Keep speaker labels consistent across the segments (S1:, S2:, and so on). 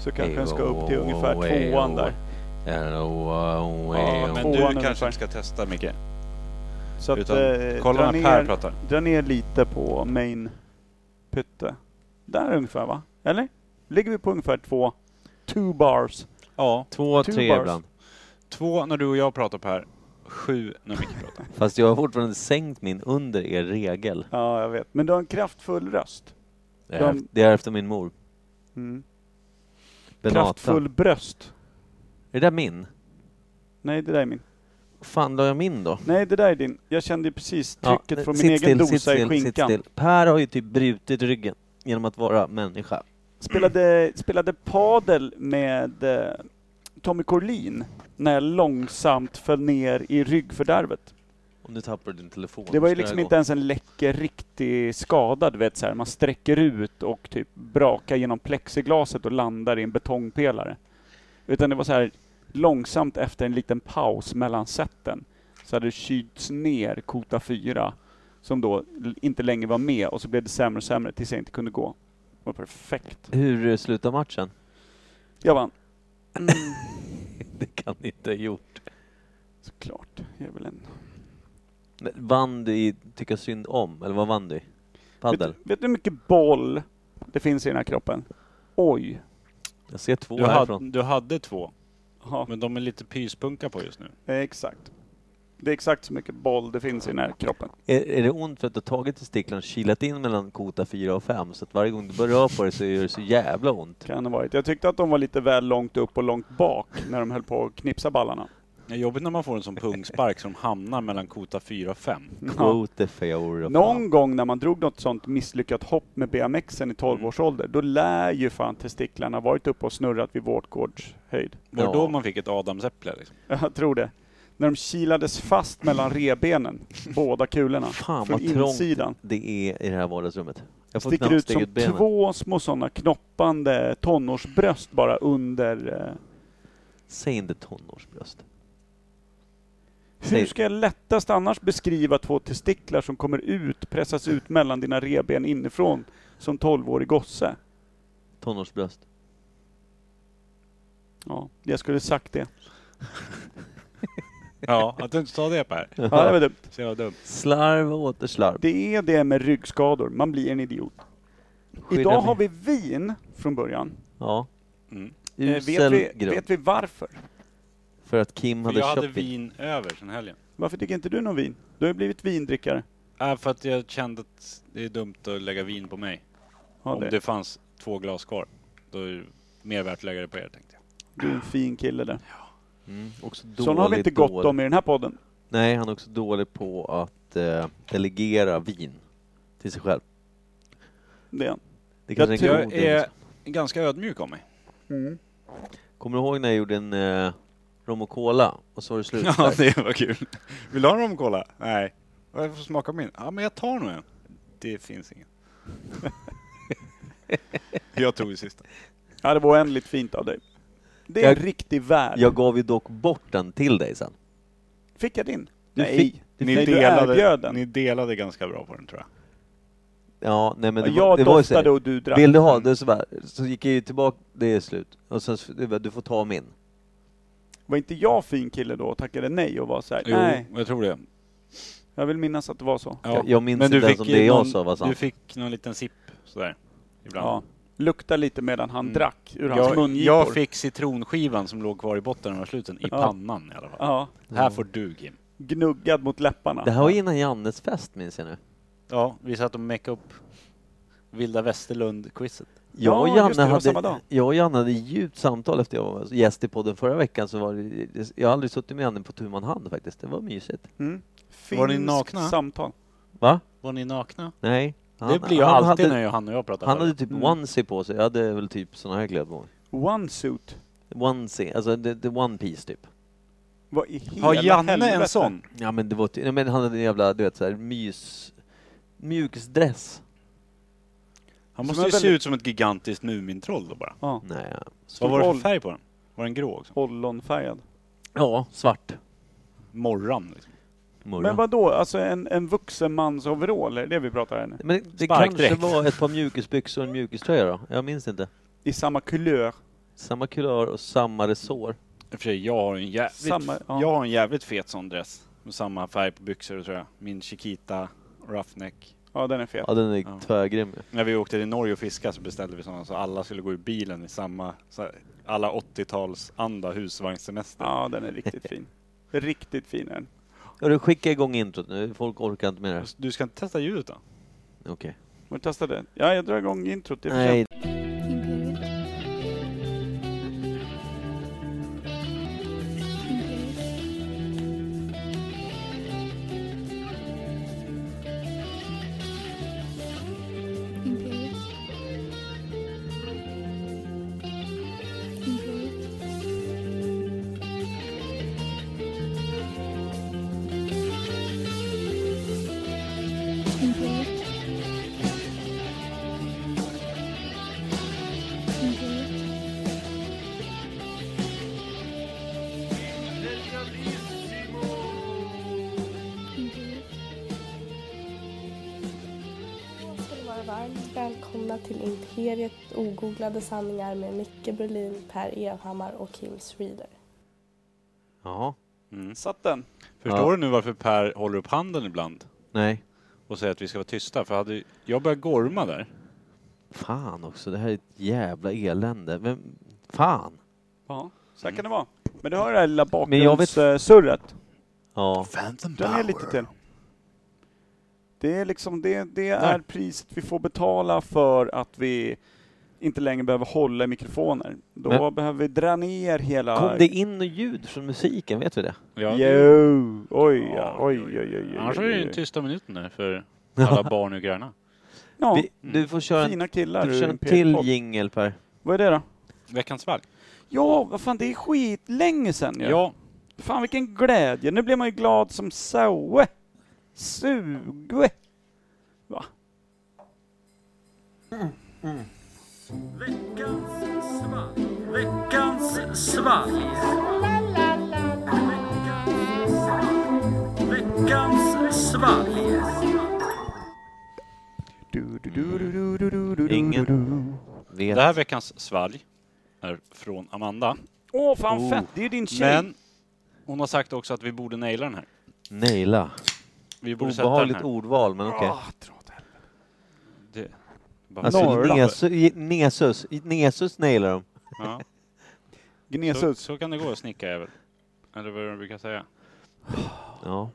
S1: Så kanske den ska upp till ungefär tvåan där.
S2: Ja, men
S1: Tvåan
S2: du Eh, kanske
S1: ungefär.
S2: inte ska testa Micke.
S1: Så att,
S2: Utan,
S1: eh,
S2: kolla
S1: dra,
S2: när Per
S1: ner,
S2: pratar.
S1: dra ner lite på main pytte. Där ungefär va? Eller? Ligger vi på ungefär två, two bars?
S2: Ja,
S3: Två,
S1: Two
S3: tre
S1: bars.
S3: ibland.
S2: två när du och jag pratar Per, sju när Micke pratar.
S3: Fast jag har fortfarande sänkt min under er regel.
S1: Ja, jag vet. Men du har en kraftfull röst.
S3: Det är,
S1: De-
S3: eft- det är efter min mor.
S1: Mm.
S3: Benata.
S1: Kraftfull bröst.
S3: Är det där min?
S1: Nej, det där är min.
S3: fan la jag min då?
S1: Nej, det där är din. Jag kände ju precis
S3: Ja,
S1: trycket från
S3: sitt
S1: min egen
S3: still, sitt
S1: dosa i
S3: still, sitt
S1: skinkan.
S3: still. Per har ju typ brutit ryggen genom att vara människa.
S1: Spelade, spelade padel med eh, Tommy Corlin när jag långsamt föll ner i ryggfördärvet.
S3: Om du tappar din telefon.
S1: Det var ju
S3: ska
S1: liksom
S3: jag
S1: inte
S3: gå.
S1: ens en läcker riktig skada, du vet så här. man sträcker ut och typ brakar genom plexiglaset och landar i en betongpelare. Utan det var så här långsamt efter en liten paus mellan seten så hade det kylts ner kota 4 som då l- inte längre var med och så blev det sämre och sämre tills jag inte kunde gå. Det var perfekt.
S3: Hur eh, slutar matchen?
S1: Jag vann.
S3: Det kan ni inte ha gjort.
S1: Såklart. Jag är väl en...
S3: Men Vann du i Tycka synd om? Eller vad vann du i? Padel?
S1: Vet, vet du hur mycket boll det finns i den här kroppen? Oj.
S3: Jag ser två
S2: Du,
S3: härifrån.
S2: hade, du hade två,
S1: Ja,
S2: men de är lite pyspunka på just nu.
S1: exakt. Det är exakt så mycket boll det finns i den här kroppen.
S3: Är, är det ont för att du har tagit testiklarna och kilat in mellan kota 4 och 5 så att varje gång du börjar röra på dig så gör det så jävla ont?
S1: Kan ha varit. Jag tyckte att de var lite väl långt upp och långt bak när de höll på att knipsa ballarna.
S2: Det är jobbigt när man får en sån pungspark som hamnar mellan kota 4 och 5.
S1: Ja.
S3: Kvote fjol och
S1: Någon gång när man drog något sånt misslyckat hopp med BMXen i
S3: Mm.
S1: 12 års ålder, då lär ju fan testiklarna varit uppe och snurrat vid vårtgårdshöjd.
S2: Var
S3: Ja.
S2: då man fick ett adamsäpple? Liksom.
S1: Jag tror det. När de kilades fast mellan rebenen, båda kulorna.
S3: Fan
S1: från
S3: vad trångt
S1: insidan.
S3: det är i det här vardagsrummet. Jag får
S1: sticker
S3: knappt
S1: ut
S3: stiga
S1: som
S3: ut benen.
S1: två små sådana knoppande tonårsbröst bara under... eh,
S3: Säg inte tonårsbröst.
S1: Hur
S3: Säg-
S1: ska jag lättast annars beskriva två testiklar som kommer ut, pressas ut mellan dina revben inifrån som 12-årig gosse?
S3: Tonårsbröst.
S1: Ja, jag skulle sagt det.
S2: Ja, att du inte sa det Per.
S1: Ja, det var dumt.
S2: Så jag var dum.
S3: Slarv och återslarv.
S1: Det är det med ryggskador, man blir en idiot.
S3: Skydda
S1: Idag
S3: mig.
S1: har vi vin från början.
S3: Ja.
S2: Mm.
S1: Eh,
S3: Usel
S1: Vet vi,
S3: grund.
S1: vet vi varför?
S3: För att Kim
S2: För
S3: hade
S2: jag hade
S3: köpt vin.
S2: vin över sen helgen.
S1: Varför dricker inte du någon vin? Du har ju blivit vindrickare.
S2: Äh, för att jag kände att det är dumt att lägga vin på mig.
S1: Ja,
S2: Om
S1: det.
S2: det fanns två glas kvar, då är det mer värt att lägga det på er tänkte jag.
S1: Du är en fin kille där.
S3: Mm, också dålig,
S1: Sådana har vi inte gott
S3: dålig.
S1: om i den här podden.
S3: Nej, han är också dålig på att eh, delegera vin till sig själv.
S1: Det.
S3: Det
S1: Jag
S3: kanske är en
S2: Jag
S3: god
S2: är
S3: egenskap.
S2: ganska ödmjuk av mig.
S3: Kommer du ihåg när jag gjorde en eh, rom och cola och så var det slut
S2: Ja,
S3: där?
S2: det var kul. Vill du ha en romcola? Nej. Jag får smaka på min. Ja, men jag tar nog en. Det finns ingen. jag tog ju sista.
S1: Ja, det var oändligt fint av dig. Det är
S3: Jag-
S1: en riktig värld.
S3: Jag gav ju dock bort den till dig sen.
S1: Fick jag din?
S3: Du
S1: nej,
S3: fick-
S1: du, nej, du erbjöd den.
S2: ni delade ganska bra på den tror jag.
S3: Ja, nej men det
S1: jag
S3: var, det var ju så
S1: doftade
S3: här,
S1: och du drack.
S3: Vill du ha? Det så, bara, så gick jag ju tillbaka, det är slut. Och sen, så- du bara, du får ta min.
S1: Var inte jag fin kille då och tackade nej och var så här, nej,
S2: jag tror det.
S1: jag vill minnas att det var så.
S3: Jag- jag minns inte ens om det
S2: ju
S3: jag
S2: någon-
S3: sa var sant.
S2: Du fick någon liten sipp sådär. Ibland.
S1: Ja. Lukta lite medan han
S2: Mm.
S1: drack ur hans
S2: Jag,
S1: mungipor.
S2: jag fick citronskivan som låg kvar i botten av sluten, i
S1: Ja.
S2: pannan i alla fall.
S1: Ja,
S2: Här får du Kim.
S1: gnuggad mot läpparna.
S3: Det här var innan Jannes fest minns jag nu.
S2: Ja, vi satt och make upp Vilda Västerlund-quizet.
S3: Jag och,
S1: Ja,
S3: Janne
S1: just det, det var samma
S3: hade,
S1: dag.
S3: jag och Janne hade djupt samtal efter jag var gäst i podden förra veckan. Så var det, jag har aldrig suttit med Janne på tu man hand faktiskt. Det var mysigt.
S1: Mm. Finskt
S2: Var ni nakna?
S1: samtal.
S3: Va?
S2: Var ni nakna?
S3: Nej.
S2: det blir jag
S3: han
S2: alltid
S3: hade,
S2: när Johanna och jag pratar.
S3: Han
S2: för
S3: hade
S2: det.
S3: typ
S1: Mm.
S3: onesie på sig. Jag hade väl typ såna här kläder på mig.
S1: Onesuit.
S3: Onesie, alltså the, the one piece typ.
S1: Vad i hela
S2: Har Janne en
S1: helvete?
S2: sån?
S3: Ja men det var ty- ja, men han hade en jävla, du vet såhär mys... Mjukisdress.
S1: Som
S2: Han måste
S1: är
S2: ju se
S1: väldigt-
S2: ut som ett gigantiskt Mumintroll då bara.
S1: Ja,
S3: Nej. Så,
S2: Vad var det för
S1: Troll.
S2: färg på den? Var den grå också?
S1: ollonfärgad.
S3: ja, svart.
S2: Morran liksom.
S3: Murra.
S1: Men vad då? alltså en, en vuxen mans overall, är det det vi pratar här nu?
S3: Men det
S2: Sparkdräkt.
S3: kanske var ett par mjukisbyxor och en mjukiströja då? Jag minns inte.
S2: Äh,
S1: I samma kulör?
S3: Samma kulör och samma resår.
S2: I och för sig, jag har en jävligt,
S1: Samma- ja.
S2: jag har en jävligt fet sån dress. Med samma färg på byxor tror jag. Min Chiquita Roughneck.
S1: Ja, den är fet.
S3: Ja, den är
S2: Ja.
S3: tvärgrym ju.
S2: När vi åkte till Norge och fiskade så beställde vi sådana så alla skulle gå ur bilen i samma, så här, alla 80-tals anda husvagnssemester.
S1: Ja, den är riktigt fin. Riktigt fin är den.
S3: Ja, du skicka igång introt nu, folk orkar inte med det. här.
S2: Du ska inte testa ljudet då?
S3: Okej.
S1: Har du testat det? Ja, jag drar igång introt. Det är för sent.
S3: Nej,
S4: Imperial. Imperial. Imperial. Imperial. Imperial. Imperial. Imperial.
S5: ska ni vara varmt välkomna till Imperiet ogooglade sanningar med Micke Berlin, Per Evhammar och Kim Reader.
S3: jaha.
S1: Satt den?
S2: Förstår
S3: Ja.
S2: du nu varför Per håller upp handen ibland
S3: Nej.
S2: och säger att vi ska vara tysta? För hade jag började gorma där.
S3: Fan också, det här är ett jävla elände. Vem... Fan!
S1: Ja, så här
S2: Mm.
S1: kan det vara. Men du hör det här lilla
S3: Mm. Men jag vet-
S1: bakgrundssurret.
S3: Ja.
S2: Phantom
S1: Dra ner lite till. Det är liksom, det, det
S2: Där.
S1: är priset vi får betala för att vi inte längre behöver hålla i mikrofoner. Då
S3: Men-
S1: behöver vi dra ner hela...
S3: Kom det in något ljud från musiken? Vet vi det?
S2: Ja.
S1: Jo! Oj, ja. oj, oj, oj, oj,
S2: Annars är
S1: oj,
S2: det ju
S1: oj.
S2: den tysta minuten där för alla barn och grannar.
S1: Ja, Mm.
S3: Vi, du får köra en,
S1: fina killar
S3: du får köra
S1: ur
S3: en
S1: en
S3: till
S1: PR-podd.
S3: jingel Per.
S1: Vad är det då?
S2: Veckans valg.
S1: Ja, vad fan, det är skit länge sedan ju.
S2: Ja,
S1: Fan vilken glädje, nu blir man ju glad som Saue. Suge. Va? Veckans svalg. Veckans svalg. Veckans
S3: Ingen.
S1: svalg.
S3: Vet.
S2: det här veckans svalg är från Amanda.
S1: Åh fan
S3: Oh.
S1: fett, det är ju din tjej.
S2: Men hon har sagt också att vi borde naila den här.
S3: Naila.
S2: Vi borde sätta den
S3: Obehagligt
S2: här.
S3: ordval, men okej.
S1: Ah, dra åt helvete.
S2: Det, bara
S3: Alltså,
S1: Norrland.
S3: Nesu- Nesus, Nesus nailar de.
S2: ja. Så,
S1: Gnesus.
S2: så kan det gå att snicka även. Eller vad de brukar säga.
S3: Ja.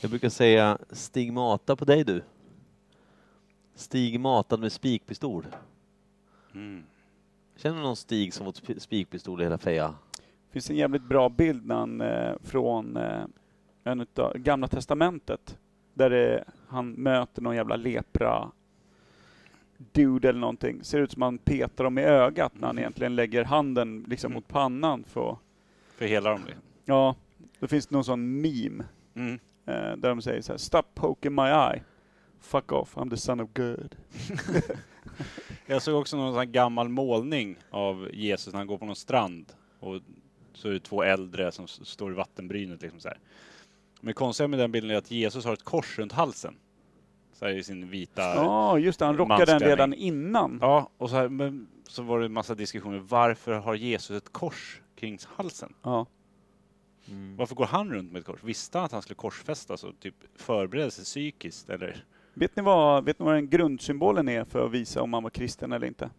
S3: Jag brukar säga stigmata på dig du. Stigmatad med spikpistol.
S2: Mm.
S3: Känner du någon Stig som fått sp- spikpistol i hela feja?
S1: Det finns en jävligt bra bild när han, eh, från eh, en utav, Gamla Testamentet där det, han möter någon jävla lepra dude eller någonting. Ser ut som han petar dem i ögat när han egentligen lägger handen liksom mot pannan för att-
S2: För hela dem liksom.
S1: Ja, då finns det någon sån meme
S2: Mm.
S1: eh, där de säger så här: Stop poking my eye. Fuck off, I'm the son of God.
S2: Jag såg också någon sån här gammal målning av Jesus när han går på någon strand. Och så är det två äldre som s- står i vattenbrynet liksom så här. Men det konstiga med den bilden är att Jesus har ett kors runt halsen. Så här i sin vita...
S1: Ja, just det. Han rockade den
S2: Mansplaining.
S1: redan innan.
S2: Ja, och så, här, men, så var det en massa diskussioner. Varför har Jesus ett kors kring halsen?
S1: Ja.
S3: Mm.
S2: Varför går han runt med ett kors? Visste han att han skulle korsfästas och typ förbereda sig psykiskt eller?
S1: Vet ni vad, vet ni vad den grundsymbolen är för att visa om man var kristen eller inte?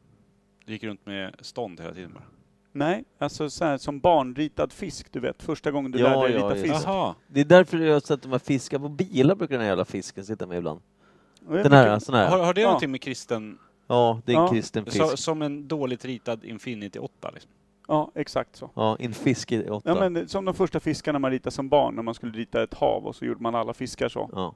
S2: Gick runt med stånd hela tiden bara.
S1: Nej, alltså så här, som barnritad fisk, du vet. Första gången du
S3: Ja,
S1: lärde dig
S3: ja,
S1: rita
S3: ja.
S1: fisk.
S2: Jaha!
S3: Det är därför jag har sett de här fiskar på bilar brukar den här jävla fisken sitta med ibland.
S1: Och det är
S3: Den här, alltså.
S1: mycket-
S3: sån här.
S2: Har, har det
S1: Ja.
S2: någonting med kristen...
S3: Ja, det är en
S1: Ja.
S3: kristen
S2: Så,
S3: fisk.
S2: som en dåligt ritad Infinity 8 liksom.
S1: Ja, exakt så.
S3: Ja, en fisk i åtta.
S1: Ja, men det- som de första fiskarna man ritade som barn, när man skulle rita ett hav och så gjorde man alla fiskar så.
S3: Ja.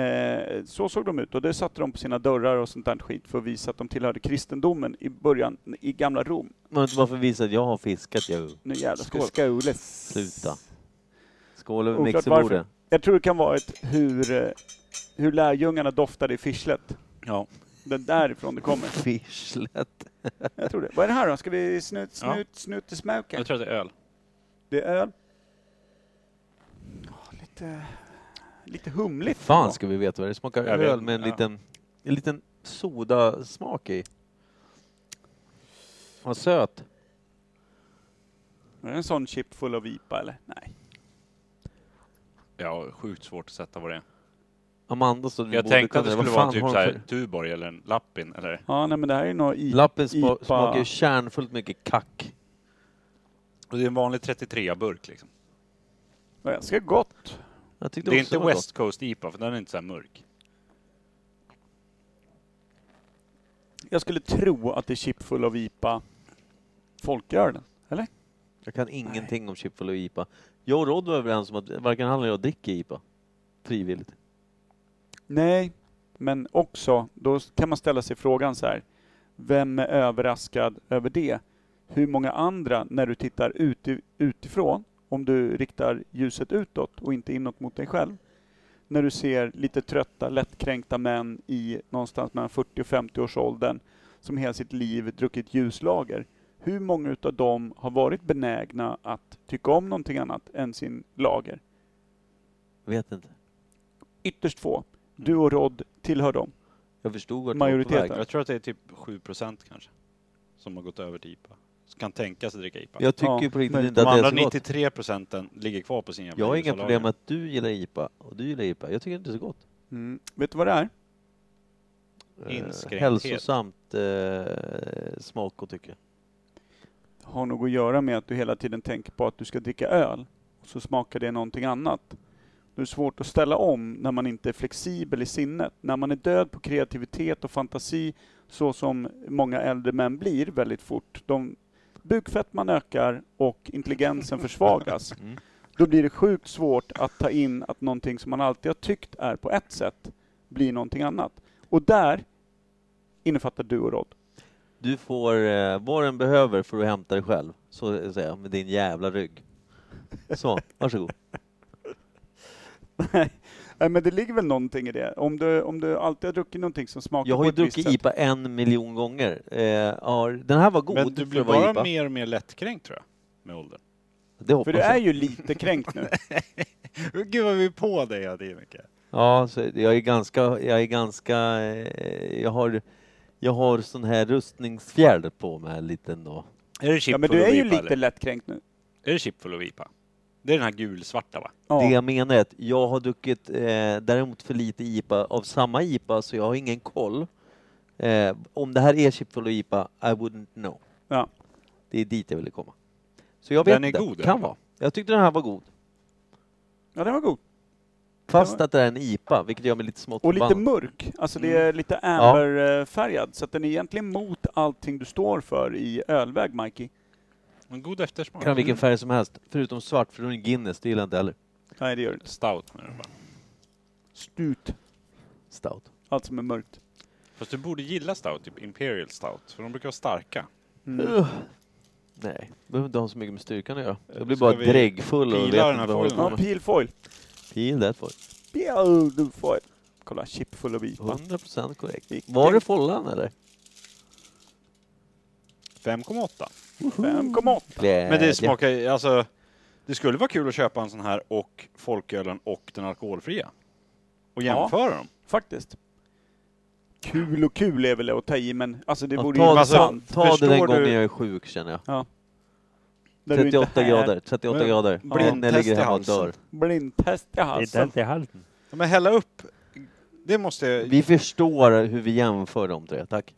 S1: Eh, så såg de ut och det satte de på sina dörrar och sånt där skit för att visa att de tillhörde kristendomen i början, i gamla Rom.
S3: Men varför visa att jag har fiskat jag.
S1: Nu jävlar ska det
S2: Skål.
S1: skåles.
S3: Sluta. Skål över
S1: Oklart
S3: mixerbordet.
S1: Jag tror det kan vara ett hur, eh, hur lärjungarna doftade i fischlet.
S2: Ja.
S1: Det är därifrån det kommer.
S3: Fischlet.
S1: Jag tror det. Vad är det här då? Ska vi snut,
S2: Ja.
S1: snut, snut i smoken?
S2: Jag tror att det är öl.
S1: Det är öl. Ja, Lite, lite humligt.
S3: Fan ska vi veta vad det smakar
S2: Jag vet
S3: öl
S2: inte,
S3: med en
S2: ja.
S3: liten, en liten sodasmak i. Vad söt.
S1: Är det en sån chip full av IPA eller? Nej.
S2: Ja, sjukt svårt att sätta vad det är.
S3: Amanda så
S2: Jag tänkte att det skulle vara typ så här Tuborg eller en Lappin eller...
S1: Ja, nej men det här är nog IPA.
S3: Lappen spa-
S1: IPA.
S3: smakar ju kärnfullt mycket kack.
S2: Och det är en vanlig 33-burk liksom.
S1: Ganska gott.
S3: Jag
S2: Det
S3: tyckte
S2: är
S3: också
S2: inte
S3: var gott.
S2: West Coast IPA för den är inte så här mörk.
S1: Jag skulle tro att det är chip full av IPA folkölen.
S3: Jag kan ingenting om Chipful och IPA. Jag och Rod var överens om att varken han eller jag dricker IPA. Frivilligt.
S1: Nej, men också, då kan man ställa sig frågan så här. Vem är överraskad över det? Hur många andra, när du tittar uti- utifrån, om du riktar ljuset utåt och inte inåt mot dig själv, när du ser lite trötta, lättkränkta män i någonstans mellan 40 och 50 års åldern som hela sitt liv druckit ljuslager. Hur många utav dem har varit benägna att tycka om någonting annat än sin lager?
S3: Vet inte.
S1: Ytterst få. Du och Rod tillhör dem.
S3: Jag förstod vart
S1: Majoriteten.
S3: du var på väg.
S2: Jag tror att det är typ 7 kanske. Som har gått över till IPA. Som kan tänka sig dricka IPA.
S3: Jag tycker
S1: Ja,
S3: ju på riktigt
S1: men
S3: inte
S2: De
S3: att det är
S2: andra
S3: så gott.
S2: 93 procenten ligger kvar på sin jävla
S3: Jag har inga
S2: ljusa
S3: problem med
S2: lager.
S3: att du gillar IPA och du gillar IPA. Jag tycker inte det är så gott.
S1: Mm. Vet du vad det är?
S3: Eh,
S2: Inskränkthet.
S3: hälsosamt eh, smak och tycke.
S1: har nog att göra med att du hela tiden tänker på att du ska dricka öl. Och så smakar det någonting annat. Då är det svårt att ställa om när man inte är flexibel i sinnet. När man är död på kreativitet och fantasi så som många äldre män blir väldigt fort. De, bukfettman ökar och intelligensen försvagas.
S3: Mm.
S1: Då blir det sjukt svårt att ta in att någonting som man alltid har tyckt är på ett sätt blir någonting annat. Och där innefattar du och Rod.
S3: Du får eh, vad den behöver för att hämta dig själv. Så att säga, med din jävla rygg. Så, varsågod.
S1: Nej, nej, men det ligger väl någonting i det. Om du, om du alltid har druckit någonting som smakar
S3: Jag har
S1: på
S3: ju
S1: ett visst
S3: druckit
S1: sätt.
S3: IPA en miljon gånger. Eh, ja, den här var god
S2: Men du
S3: för
S2: blir
S3: att vara
S2: bara
S3: IPA.
S2: mer och mer lättkränkt tror jag. Med åldern.
S3: Det
S1: För
S3: hoppas
S1: du är
S3: jag.
S1: ju lite kränkt
S3: Typ
S1: nu.
S2: Gud vad vi är på dig hela tiden Micke.
S3: Ja, så jag är ganska, jag är ganska, eh, jag har, jag har sån här rustningsfjäder på mig en liten då.
S2: Är det chip
S1: Ja, men
S2: full
S1: du
S2: of
S1: är ju
S2: IPA,
S1: lite
S2: eller?
S1: lättkränkt nu.
S2: Är det chip full of IPA? Det är den här gulsvarta va?
S3: Det
S1: Ja.
S3: jag menar är att jag har druckit eh, däremot för lite IPA av samma IPA så jag har ingen koll. Eh, om det här är chipfull och IPA, I wouldn't know.
S1: Ja.
S3: Det är dit jag ville komma. Så jag vet
S2: Den är
S3: inte.
S2: god, i alla
S3: Kan
S2: fall.
S3: vara. Jag tyckte den här var god.
S1: ja, den var god.
S3: Fast
S1: var-
S3: att det är en IPA, vilket gör mig lite smått
S1: Och lite
S3: förbannad.
S1: mörk. Alltså det
S3: Mm.
S1: är lite amberfärgad. Så att den är egentligen mot allting du står för i ölväg, Mikey.
S2: En god eftersmak.
S3: Kan ha vilken färg som helst, förutom svart, för den är Guinness, det gillar jag inte heller.
S1: Nej, det gör det inte.
S2: Stout med den bara.
S1: Stut.
S3: Stout.
S1: Allt som är mörkt.
S2: Fast du borde gilla stout, typ Imperial Stout. För de brukar vara starka.
S1: Mm.
S3: Ugh. Nej, det behöver inte ha så mycket med styrkan att göra. Jag blir
S2: Ska
S3: bara
S2: vi
S3: dräggfull och
S2: pila
S3: vet
S2: den
S3: inte
S2: här
S3: vad jag håller på
S1: Ja,
S2: folien?
S3: med.
S1: pilfoil.
S3: Pil det för.
S1: Pilfoil. Kolla, chip full av IPA.
S3: 100% korrekt.
S1: Vilken-
S3: Var det follan eller?
S2: 5,8.
S1: 5,8.
S2: Men
S1: Eh,
S2: det smakar ju- alltså... Det skulle vara kul att köpa en sån här och folkölen och den alkoholfria. Och
S1: Ja.
S2: jämföra dem.
S1: Faktiskt. Kul och kul är väl att ta i, men alltså det
S3: Ja,
S1: vore ju
S3: ta,
S1: vara
S2: massa-
S1: sant.
S3: ta, ta det
S2: Förstår
S3: den gången
S2: du-
S3: jag är sjuk känner jag.
S1: Där du inte
S3: 38
S1: är
S3: grader, 38
S2: Men-
S3: grader.
S2: Ja.
S3: Ja. Den
S2: Blindtest i
S3: ligger hemma och
S2: halsen.
S3: dör.
S1: Blindtest i halsen.
S6: i halsen.
S2: Ja, Men hälla upp. Det måste jag...
S3: Vi förstår hur vi jämför de tre, tack.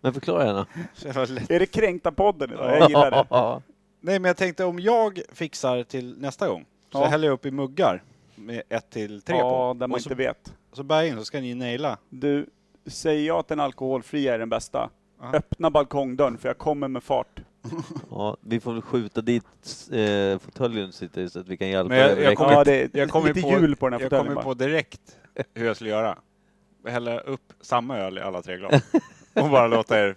S3: Men förklara gärna.
S2: så jävla lätt.
S1: Är det kränkta podden idag? Jag gillar det.
S2: Nej men jag tänkte om jag fixar till nästa gång. Så
S1: Ja.
S2: häller jag upp i muggar. Med ett till tre
S1: Ja,
S2: på.
S1: där man
S2: och så,
S1: inte vet.
S2: så bär jag in så ska ni naila.
S1: Du, säger jag att den alkoholfria är den bästa,
S2: Ja.
S1: öppna balkongdörren för jag kommer med fart.
S3: Ja, vi får väl skjuta dit eh, fåtöljen du sitter i så att vi kan hjälpa
S2: Men jag-
S3: dig med
S2: jag
S3: läxan.
S2: kommer-
S1: Ja, det är
S2: jag kommer
S1: lite
S2: på-
S1: jul på den här
S2: Jag
S1: fåtöljen
S2: kommer
S1: bara.
S2: på direkt hur jag skulle göra. Hälla upp samma öl i alla tre glas. Och bara låta er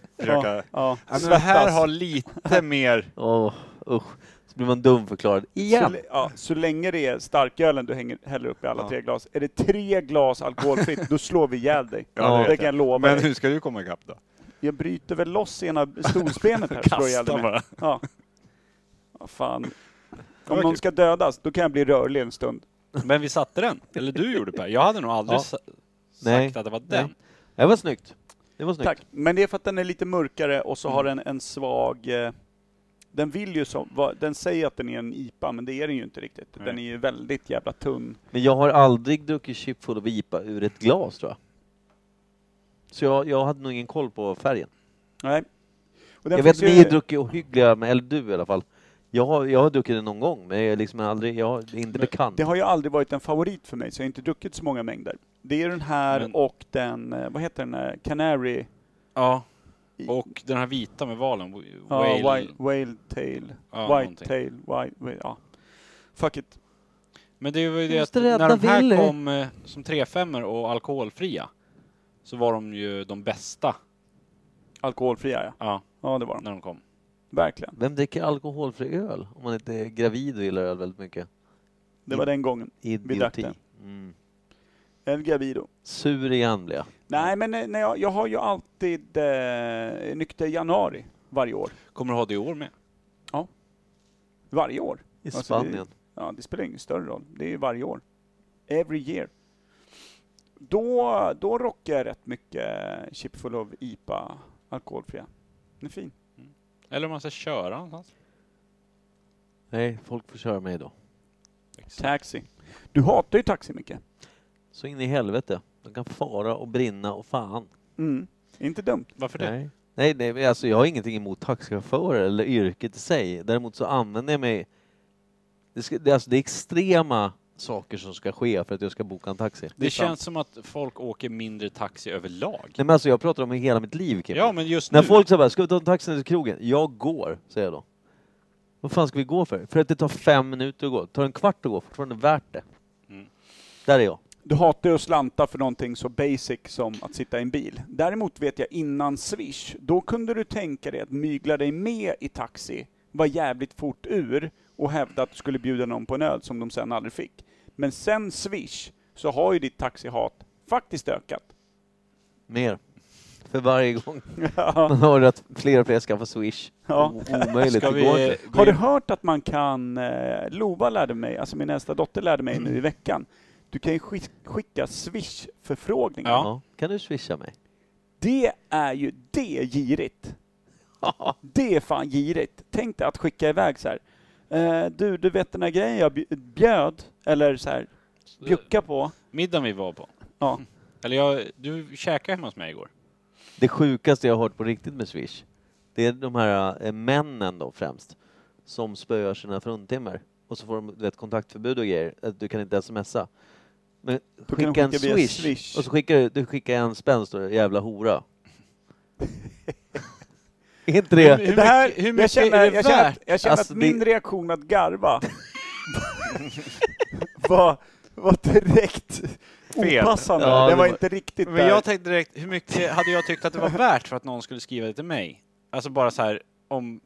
S1: Ja,
S2: försöka...
S1: ja.
S2: Ja, men det
S1: Svettas.
S2: här har lite mer...
S3: Åh, usch. Så blir man dumförklarad
S1: så,
S3: igen.
S1: l- ja, så länge det är starkölen du hänger, häller upp i alla
S2: Ja.
S1: tre glas. Är det tre glas alkoholfritt, då slår vi ihjäl dig.
S2: Ja, det
S1: det,
S2: vet
S1: kan jag lova
S2: Men
S1: dig.
S2: hur ska du komma ikapp då?
S1: Jag bryter väl loss ena stolsbenet här och slår ihjäl dig med.
S2: bara.
S1: Ja. Vad fan.
S2: var
S1: Om
S2: kul.
S1: någon ska dödas, då kan jag bli rörlig en stund.
S2: Men vi satte den. Eller du gjorde Per. Jag hade nog aldrig
S3: Ja.
S2: sa- sagt
S3: Nej.
S2: att det var
S3: Nej.
S2: den.
S3: Det var snyggt. Det var snyggt.
S1: Tack. Men det är för att den är lite mörkare och så
S3: Mm.
S1: har den en svag... eh, Den vill ju som, va- den säger att den är en IPA, men det är den ju inte riktigt.
S2: Nej.
S1: Den är ju väldigt jävla tunn.
S3: Men jag har aldrig druckit chip full of IPA ur ett glas tror jag. Så jag, jag hade nog ingen koll på färgen.
S1: Nej. Och den
S3: jag vet att
S1: finns
S3: ni har druckit ohyggliga, med- eller du i alla fall. Jag har, jag har druckit den någon gång, men jag är liksom aldrig, jag är inte bekant.
S1: Det har ju aldrig varit en favorit för mig, så jag har inte druckit så många mängder. Det är den här
S2: Men-
S1: och den, eh, vad heter den, eh, Canary...
S2: Ja. Och den här vita med valen, w-
S1: Ja,
S2: whale.
S1: whale, whale tail.
S2: ja,
S1: white
S2: någonting.
S1: tail, white, whale, ja. Fuck it.
S2: Men det var ju det att
S3: Måste rädda
S2: när de här
S3: Willy.
S2: kom eh, som 3-5 och alkoholfria så var de ju de bästa
S1: Alkoholfria ja.
S2: ja,
S1: Ja det var de.
S2: när de kom.
S1: Verkligen.
S3: Vem dricker alkoholfri öl? Om man inte är gravid och gillar öl väldigt mycket.
S1: Det
S2: Mm.
S1: var den gången. drack
S3: Idioti.
S1: den.
S3: Mm.
S1: El Gavido.
S3: Sur igen blev jag.
S1: Nej,
S2: Mm.
S1: men eh, när jag, jag har ju alltid eh, nykter januari varje år.
S2: Kommer du ha det i år med?
S1: Varje år.
S3: I
S1: Alltså,
S3: Spanien.
S1: Ja, det spelar ingen större roll. Det är ju varje år. Every year. Då, då rockar jag rätt mycket Chip Full of IPA alkoholfria. Den är fin.
S2: Eller om man ska köra någonstans?
S3: Nej, folk får köra mig då.
S1: Taxi. Du hatar ju taxi mycket.
S3: Så in i helvete. De kan fara och brinna och fan.
S1: Mm. Inte dumt.
S2: Varför det?
S3: Nej. Nej, nej, men alltså jag har ingenting emot taxichaufförer eller yrket i sig. Däremot så använder jag mig... Det, ska, det, är alltså, det är extrema saker som ska ske för att jag ska boka en taxi. Liksom.
S2: Det, känns som att folk åker mindre taxi överlag.
S3: Nej men alltså jag pratar om hela mitt liv Kim.
S2: Ja, men just
S3: När
S2: nu.
S3: folk säger bara, ska vi ta en taxi ner till krogen? Jag går, säger jag då. Vad fan ska vi gå för? För att det tar fem minuter att gå. Tar en kvart att gå, fortfarande värt det.
S2: Mm.
S3: Där är jag.
S1: Du hatar ju att slanta för någonting så basic som att sitta i en bil. Däremot vet jag innan Swish, då kunde du tänka dig att mygla dig med i taxi, vara jävligt fort ur och hävda att du skulle bjuda någon på en öl som de sen aldrig fick. Men sen Swish så har ju ditt taxihat faktiskt ökat.
S3: Mer. För varje gång
S1: Ja.
S3: man hör att fler och fler skaffar Swish.
S1: Ja.
S3: O- Omöjligt,
S2: Ska
S3: det går inte.
S2: vi...
S1: Har du hört att man kan, eh, Lova lärde mig, alltså min äldsta dotter lärde mig nu i veckan, du kan ju skick- skicka Swish-förfrågningar.
S2: Ja.
S3: Ja. Kan du swisha mig?
S1: Det är ju, det är girigt. Det är fan girigt. Tänk dig att skicka iväg så här. Eh, du, du vet den här grejen jag bj- bjöd, eller så här, bjucka på.
S2: Middagen vi var på.
S1: Ja.
S2: Eller jag, du käkade hemma hos mig igår.
S3: Det sjukaste jag har hört på riktigt med Swish, det är de här eh, männen då främst, som spöar sina fruntimmer. Och så får de du vet, kontaktförbud och grejer, att du kan inte smsa. Men
S1: kan
S3: skicka,
S1: de
S3: en
S1: skicka via
S3: Swish,
S1: Swish.
S3: och så skickar du, du skickar en spänn står det, jävla hora. är inte det?
S2: Hur
S1: det här,
S2: mycket- hur
S1: jag
S2: mycket
S1: känner,
S2: är det
S1: jag känner, att,
S2: värt?
S1: jag känner
S3: Alltså,
S1: att
S3: det-
S1: min reaktion att garva var, var direkt
S2: Fel.
S1: opassande.
S3: Ja, det
S1: den var
S3: var-
S1: inte riktigt
S2: Men
S1: där.
S2: jag tänkte direkt, hur mycket hade jag tyckt att det var värt för att någon skulle skriva det till mig? Alltså bara så här, om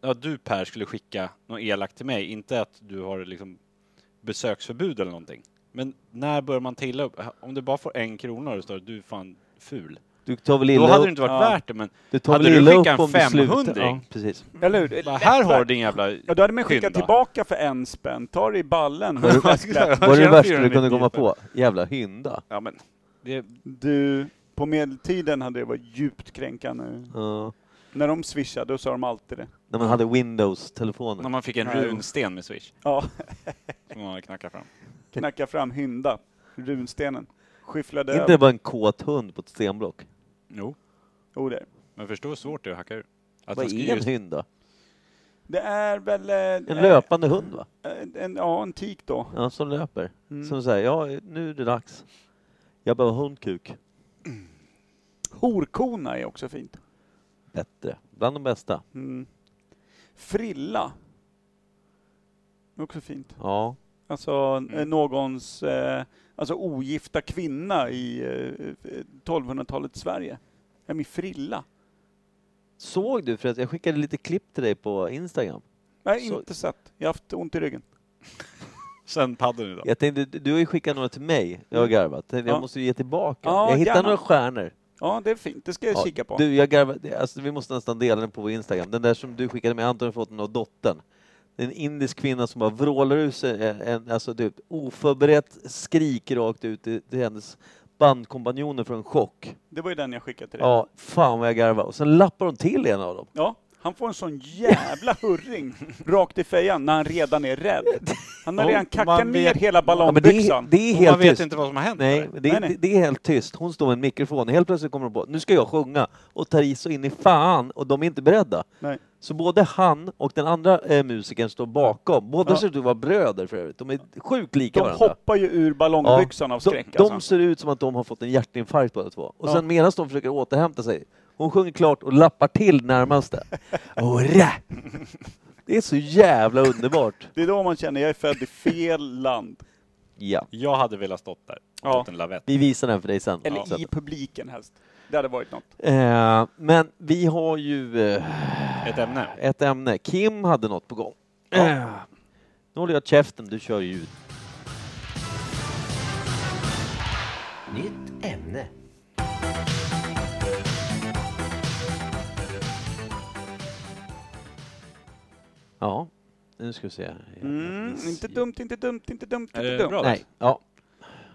S2: ja, du Per skulle skicka något elakt till mig, inte att du har liksom besöksförbud eller någonting. Men när börjar man trilla upp? Om du bara får en krona och det står att du är fan ful.
S3: Du tar väl
S2: Då
S3: illa
S2: hade det
S3: upp,
S2: inte varit
S1: Ja.
S2: värt det, men
S3: du tar
S2: hade
S3: väl
S2: du
S3: illa
S2: skickat
S3: upp
S2: en
S3: om du slutar?
S2: 500?
S3: Ja, precis.
S1: Eller hur?
S2: bara, här har
S1: Lättvärt.
S2: du din jävla...
S1: Ja, då hade man skickat
S2: Skynda.
S1: tillbaka för en spänn. Ta det i ballen.
S3: Var det-
S1: Fläskläpp.
S3: Vad är det
S2: Tjena,
S3: värsta du
S2: 490
S3: kunde komma på? Jävla hynda.
S2: Ja, men det,
S1: Du, på medeltiden hade det varit djupt kränkande.
S3: Ja.
S1: När de swishade, då sa de alltid det.
S3: när man hade Windows-telefoner.
S2: när man fick en
S1: Nej.
S2: runsten med Swish
S1: Ja,
S2: som man knackar fram.
S1: knacka fram hynda, runstenen. Skyfflade
S3: Är inte det
S1: över.
S3: bara en kåt hund på ett stenblock?
S2: Jo,
S1: Jo, det, är. det.
S2: men förstå hur svårt det är att hacka ur.
S3: Vad
S2: Att den
S3: är en
S2: skriver-
S3: hund då?
S1: det är väl...
S3: En
S1: eh,
S3: löpande hund va?
S1: eh, En, ja, en tik då.
S3: Ja, som löper.
S1: Mm.
S3: Som säger, ja nu är det dags. Jag behöver hundkuk.
S1: Horkona är också fint.
S3: Bättre. Bland de bästa.
S1: Mm. Frilla. Också fint.
S3: Ja.
S1: Alltså
S3: Mm.
S1: eh, någons eh, alltså ogifta kvinna i eh, eh, 1200-talets Sverige. Ja, min frilla.
S3: Såg du förresten, jag skickade lite klipp till dig på Instagram.
S1: Jag har
S3: Så-
S1: inte sett. Jag har haft ont i ryggen.
S2: Sen paddeln idag.
S3: Jag tänkte, du du har ju skickat några till mig. Jag har garvat. Jag
S1: Mm. Ja.
S3: måste ju ge tillbaka.
S1: Ja,
S3: jag hittade
S1: gärna.
S3: några stjärnor.
S1: Ja, det är fint. Det ska jag kika på.
S3: Du, jag garvade. Alltså, vi måste nästan dela den på vår Instagram. Den där som du skickade med, Anton har fått den av dottern. Det är en indisk kvinna som bara eh, vrålar ur sig en, en alltså typ oförberett skrik rakt ut i, till hennes bandkompanjoner får en chock.
S1: Det var ju den jag skickade till dig.
S3: Ja, fan vad jag garvade. Och sen lappar de till en av dem.
S1: Ja, han får en sån jävla hurring rakt i fejan när han redan är rädd. Han har
S2: Ja,
S1: redan kackat
S2: man
S1: ner
S2: vet-
S1: hela
S3: Ja, men det, är,
S1: ballongbyxan.
S3: det är
S2: Och man
S3: helt
S2: vet
S3: tyst.
S2: inte vad som har hänt.
S3: Nej,
S2: eller?
S3: det,
S1: Nej,
S3: är-
S1: nej.
S3: Det, det är helt tyst. Hon står med en mikrofon. Helt plötsligt kommer hon på nu ska jag sjunga och ta i så in i fan och de är inte beredda.
S1: Nej.
S3: Så både han och den andra eh, musikern står bakom. Båda
S1: Ja.
S3: ser ut att vara bröder för övrigt. De är sjukt lika
S1: De
S3: varandra.
S1: hoppar ju ur ballongbyxan av skräck
S3: de, de
S1: alltså.
S3: ser ut som att de har fått en hjärtinfarkt båda två. Och
S1: Ja.
S3: sen medan de försöker återhämta sig, hon sjunger klart och lappar till närmaste. Hurra! Det är så jävla underbart.
S1: Det är då man känner, jag är född i fel land.
S3: Ja.
S2: Jag hade velat stått där.
S1: Ja.
S2: Ja. En lavett.
S3: Vi visar den för dig sen.
S1: Eller
S3: Sen.
S1: i publiken helst. Det hade varit något.
S3: Eh, men vi har ju eh,
S2: Ett ämne.
S3: ett ämne. Kim hade något på gång. Eh, nu håller jag käften, du kör ljud.
S6: Nytt ämne.
S3: Ja, nu ska vi se.
S1: Mm, inte dumt, inte dumt, inte dumt,
S2: Är
S1: inte
S2: det
S1: dumt.
S2: bra?
S3: Nej, ja.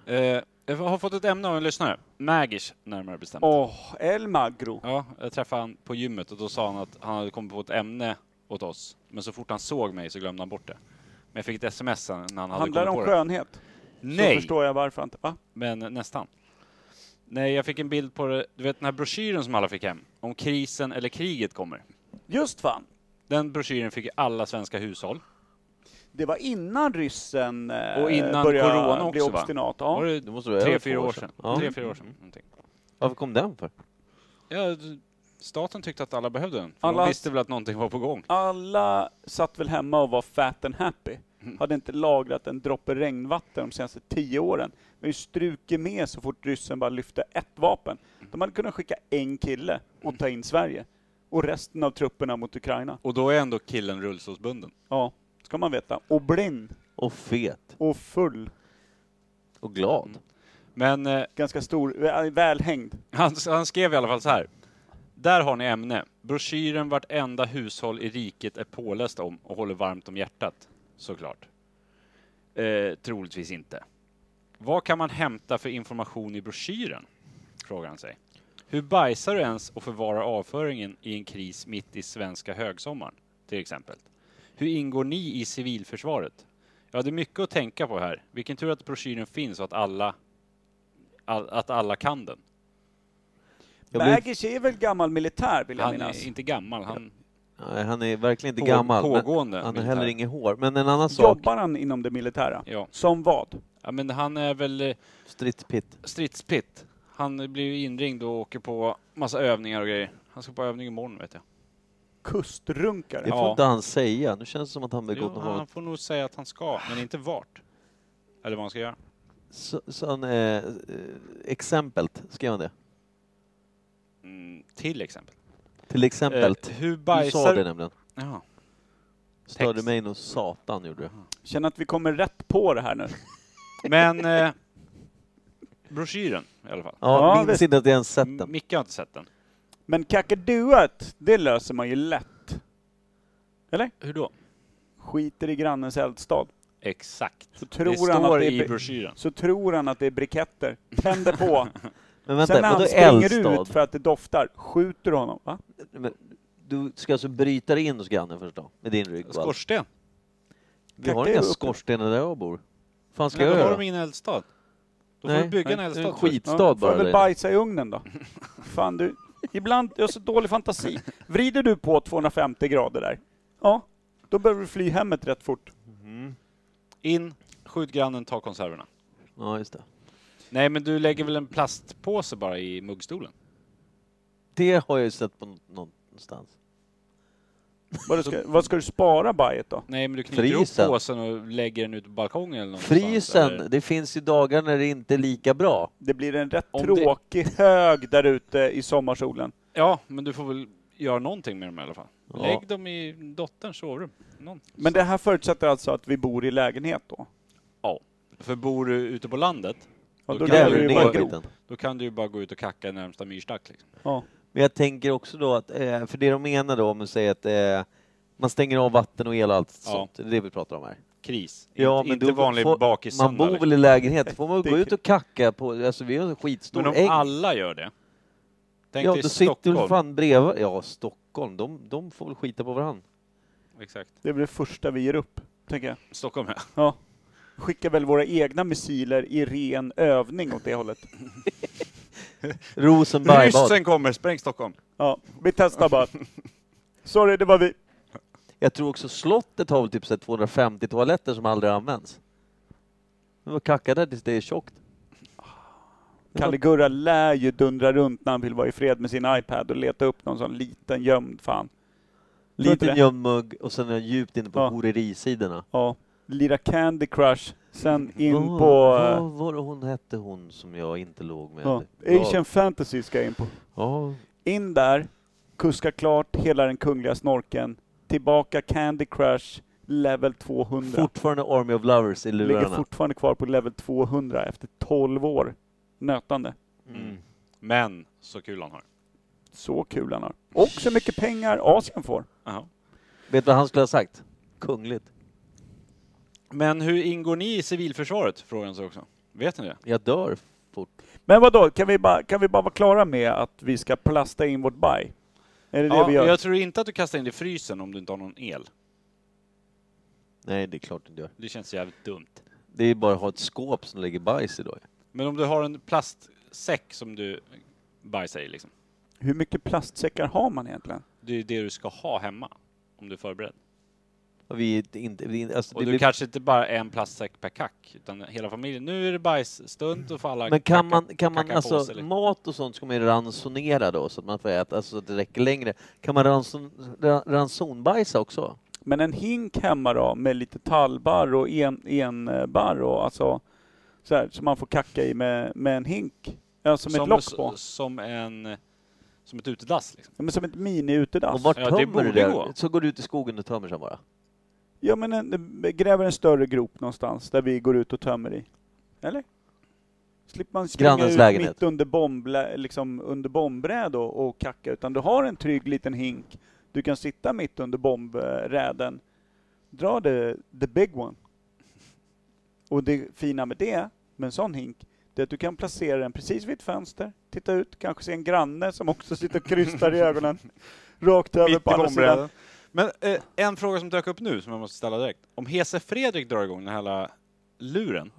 S2: Eh, jag har fått ett ämne av en lyssnare. Magish, närmare bestämt.
S1: Åh, El Magro.
S2: Ja, jag träffade han på gymmet och då sa han att han hade kommit på ett ämne åt oss. Men så fort han såg mig så glömde han bort det. Men jag fick ett sms sen när han hade
S1: Handlar det om
S2: kommit på det.
S1: skönhet? Så
S2: Nej!
S1: förstår jag varför inte. Va?
S2: Men nästan. Nej, jag fick en bild på det. Du vet den här broschyren som alla fick hem? Om krisen eller kriget kommer.
S1: Just fan.
S2: Den broschyren fick alla svenska hushåll.
S1: Det var innan ryssen eh,
S2: Och innan
S1: började
S2: corona
S1: bli
S2: också, va?
S1: obstinat.
S2: Var
S1: Ja.
S2: det
S3: Det måste vara
S2: tre,
S3: över
S2: fyra
S3: två
S2: år
S3: år
S2: sedan?
S3: sedan. Ja. Mm.
S2: Tre, fyra år sedan. någonting.
S3: Varför kom den för?
S2: Ja, d- staten tyckte att alla behövde den. För
S1: Alla-
S2: De visste väl att någonting var på gång.
S1: Alla satt väl hemma och var fat and happy.
S2: Mm.
S1: Hade inte lagrat en droppe regnvatten de senaste tio åren. De har ju strukit med så fort ryssen bara lyfte ett vapen.
S2: Mm.
S1: De hade kunnat skicka en kille och ta in Sverige. Och resten av trupperna mot Ukraina.
S2: Och då är ändå killen rullstolsbunden.
S1: Ja, ska man veta. Och blind.
S3: Och fet.
S1: Och full.
S3: Och glad.
S2: Men eh,
S1: Ganska stor. vä- Välhängd.
S2: Han, han skrev i alla fall så här. Där har ni ämne. Broschyren vartenda hushåll i riket är påläst om och håller varmt om hjärtat. Såklart. Eh, troligtvis inte. Vad kan man hämta för information i broschyren? Frågar han sig. Hur bajsar du ens och förvarar avföringen i en kris mitt i svenska högsommaren? Till exempel. Hur ingår ni i civilförsvaret? Ja, det är mycket att tänka på här. Vilken tur att broschyren finns och att alla, all, att alla kan den.
S3: Jag blir-
S1: Bagish är väl gammal militär vill jag
S2: Han
S1: minnas?
S2: är inte gammal, han
S3: Nej, han är verkligen
S2: På-
S3: inte gammal. men
S2: pågående
S3: Han har
S2: militär.
S3: heller inget hår. Men en annan sak.
S1: Jobbar han inom det militära?
S2: Ja.
S1: Som vad?
S2: ja men han är väl eh,
S3: Stridspitt.
S2: stridspitt. Han blir ju inringd och åker på massa övningar och grejer. Han ska på övning imorgon vet jag.
S1: Kustrunkare?
S3: Det får
S2: Ja.
S3: inte han säga. Nu känns det som att han
S2: Jo,
S3: begått något.
S2: han
S3: brott.
S2: får nog säga att han ska, men inte vart. Eller vad han ska göra.
S3: Så, så han, eh, eh, exempelt, skrev han det?
S2: Mm, till exempel.
S3: Till exempel.
S2: Eh, hur
S3: du sa
S2: bajsar...
S3: det nämligen.
S2: Ja.
S3: Störde
S2: Text.
S3: mig nog satan gjorde det.
S1: Känner att vi kommer rätt på det här nu.
S2: Men... Eh, broschyren i alla fall.
S3: Ja,
S1: Ja,
S3: minns
S1: visst. Mm.
S3: inte att jag ens sett
S2: M-
S3: den.
S2: Micke har inte sett den.
S1: Men kackaduet, det löser man ju lätt.
S2: Hur då?
S1: Skiter i grannens eldstad.
S2: Exakt.
S1: Så
S2: Det
S1: tror, han att
S2: står
S1: det
S2: i
S1: är,
S2: broschyren.
S1: så tror han att det är briketter. Tänder på.
S3: Men
S1: Sen när
S3: vänta,
S1: han
S3: vadå
S1: springer
S3: eldstad?
S1: ut för att det doftar, skjuter du honom. Va?
S3: Men Du ska alltså bryta dig in hos grannen först då? Med din rygg och allt.
S2: Skorsten.
S3: Vi har
S1: Kacka
S3: inga
S1: är uppe.
S3: skorstenar där jag bor. fan ska
S2: Nej,
S3: jag
S2: då har
S3: göra?
S2: de ingen eldstad. Då får
S3: Nej,
S2: du bygga
S3: nej,
S2: en
S3: det är
S2: eldstad.
S3: en
S2: först.
S3: skitstad
S1: Ja,
S3: bara
S1: Får väl
S3: där
S1: bajsa i ugnen då. Fan du. Ibland, jag har så dålig fantasi. Vrider du på 250 grader där, ja, då behöver du fly hemmet rätt fort.
S2: In, skjut grannen, ta konserverna.
S3: inne. Ja, just det.
S2: Nej, men du lägger väl en plastpåse bara i muggstolen?
S3: Det har jag ju sett på nå- någonstans.
S1: Vad ska, vad ska du spara bajet då?
S2: Nej, men du knyter
S3: Frysen.
S2: ihop påsen och lägger den ut på balkongen eller någonstans.
S3: Frysen,
S2: eller?
S3: det finns ju dagar när det inte är lika bra.
S1: Det blir en rätt
S2: Om det-
S1: tråkig hög där ute i sommarsolen.
S2: Ja, men du får väl göra någonting med dem i alla fall.
S3: Ja.
S2: Lägg dem i dotterns sovrum. Någon.
S1: Men det här förutsätter alltså att vi bor i lägenhet då?
S2: För bor du ute på landet,
S1: Ja,
S2: Då
S1: då
S2: gräver
S1: lever
S3: Gräver
S1: du
S2: du
S3: du
S1: ju
S3: ner
S1: bara grop.
S3: skiten.
S2: då kan du ju bara gå ut och kacka i närmsta myrstack. Liksom.
S1: Ja.
S3: Men jag tänker också då att, eh, för det de menar då om att säga att eh, man stänger av vatten och el och allt
S2: Ja.
S3: sånt, det är det vi pratar om här.
S2: kris.
S3: Ja,
S2: inte
S3: men
S2: inte
S3: då
S2: vanlig
S3: får- Man
S2: bakissöndag.
S3: bor
S2: liksom.
S3: väl i lägenhet, får man väl gå
S1: Det är
S3: ut och kacka på, alltså vi har en skitstor
S2: Men om
S3: äng.
S2: alla gör det. Tänk
S3: ja,
S2: dig
S3: då sitter du
S2: Stockholm.
S3: fan bredvid. Ja, Stockholm, de, de får väl skita på varandra.
S2: Exakt.
S1: Det blir det första vi ger upp, tänker jag.
S2: Stockholm ja.
S1: Ja. Skicka väl våra egna missiler i ren övning åt det hållet.
S3: Rosenbergbad.
S2: Ryssen kommer, spräng Stockholm.
S1: Ja, vi testar bara. Sorry, det var vi.
S3: Jag tror också slottet har väl typ så här 250 toaletter som aldrig används. Men vad kacka där tills det är tjockt.
S1: Kalle Gurra lär ju dundra runt när han vill vara i fred med sin iPad och leta upp någon sån liten gömd fan. Tror inte
S3: Liten
S1: det.
S3: gömd mugg och sen är jag djupt inne på
S1: Ja.
S3: horerisidorna.
S1: Ja. Lira Candy Crush, sen in
S3: Vad-
S1: på... eh,
S3: Vad var det hon hette hon som jag inte låg med?
S1: Ja.
S3: Ja.
S1: Asian Fantasy ska jag in på.
S3: Ja,
S1: In där, kuska klart hela den kungliga snorken, tillbaka Candy Crush, level 200.
S3: fortfarande Army of Lovers i
S1: Ligger
S3: lurarna.
S1: fortfarande kvar på level 200 efter 12 år nötande.
S3: Mm.
S2: Men så kul han har.
S1: Så kul han har. Och så mycket pengar Asien får.
S2: Jaha.
S3: Vet du vad han skulle ha sagt? Kungligt.
S2: Men hur ingår ni i civilförsvaret? Frågan så också. Vet ni det?
S3: Jag dör fort.
S1: Men vadå, kan vi bara, kan vi bara vara klara med att vi ska plasta in vårt baj? Är det det
S2: Ja,
S1: vi gör?
S2: jag tror inte att du kastar in det i frysen om du inte har någon el.
S3: Nej, det är klart du inte gör.
S2: Det känns jävligt dumt.
S3: Det är bara att ha ett skåp som lägger bajs idag.
S2: Men om du har en plastsäck som du bajsar i liksom.
S1: Hur mycket plastsäckar har man egentligen?
S2: Det är det du ska ha hemma. Om du är förberedd.
S3: Och vi är inte, vi, är- alltså,
S2: Och
S3: det
S2: du
S3: blir,
S2: kanske inte bara en plastsäck per kack. Utan hela familjen. Nu är det bajsstund och får alla
S3: men kan
S2: kacka-
S3: man, kan man
S2: kacka på
S3: alltså,
S2: sig, liksom.
S3: mat och sånt ska man ju ransonera då så att man får äta, alltså så att det räcker längre. Kan man ranson, ra, ransonbajsa också?
S1: Men en hink hemma då med lite tallbarr och en, enbarr och alltså så här, som man får kacka i med, med en hink. Ja, som, ett lock på.
S2: Som en... Som ett utedass liksom.
S1: Ja, men som ett
S3: Och
S1: mini-utedass.
S3: vart
S2: ja, det
S3: tömmer
S2: borde
S3: du det?
S2: gå.
S3: Så går du ut i skogen och tömmer sen bara?
S1: Ja, men en, gräver en större grop någonstans där vi går ut och tömmer i. Eller? Slipper man springa
S3: Grannens
S1: ut
S3: lägenhet.
S1: mitt under, bomblä, liksom under bombräd och, och kacka, utan du har en trygg liten hink. Du kan sitta mitt under bombräden. Dra the, the big one. Och det fina med det, med en sån hink, det är att du kan placera den precis vid ett fönster, titta ut, kanske se en granne som också sitter och krystar i ögonen. Rakt över
S2: Mitt
S1: på
S2: i
S1: andra sidan.
S2: bombräden. Men eh, en fråga som dök upp nu som jag måste ställa direkt. Om Hese Fredrik drar igång den här luren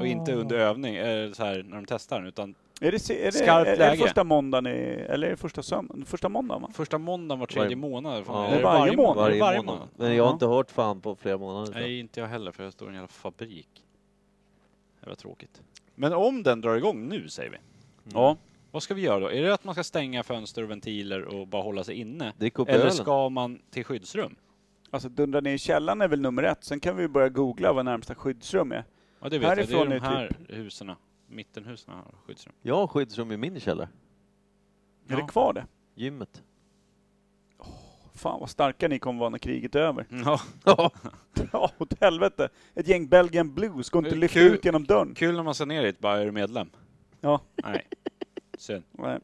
S2: och inte under övning, eller så här när de testar den, utan
S1: Är det, se- är det,
S2: Skarpt
S1: är, är det
S2: läge.
S1: första måndagen i, eller är det första söndagen? Första måndagen va?
S2: första måndagen var tredje
S3: Varje-
S2: månad.
S3: Ja.
S2: eller
S1: Det är varje månad.
S2: Är det
S3: Varje, månad. Men jag har
S1: Ja.
S3: inte hört fan på flera månader. tror jag.
S2: Nej, inte jag heller för jag står i en jävla fabrik. Det var tråkigt. Men om den drar igång nu säger vi,
S1: Ja.
S2: vad ska vi göra då? Är det att man ska stänga fönster och ventiler och bara hålla sig inne?
S3: Drick upp
S2: Eller
S3: ölen.
S2: ska man till skyddsrum?
S1: Alltså dundra ner i källaren är väl nummer ett, sen kan vi börja googla vad närmsta skyddsrum är.
S2: Ja, det vet jag. Det är
S1: Härifrån
S2: de
S1: är
S2: här husen, mittenhusen har skyddsrum.
S3: Jag har skyddsrum i min källare.
S2: Ja.
S1: Är det kvar det?
S3: Gymmet.
S1: Fan vad starka ni kommer vara när kriget är över.
S2: Ja.
S1: Ja, åt helvete! Ett gäng Belgian Blues går inte
S2: Det är
S1: att lyfta
S2: kul.
S1: ut genom dörren.
S2: Kul när man ser ner i ett bara, är du medlem?
S1: Ja.
S2: Nej. Synd.
S1: Nej.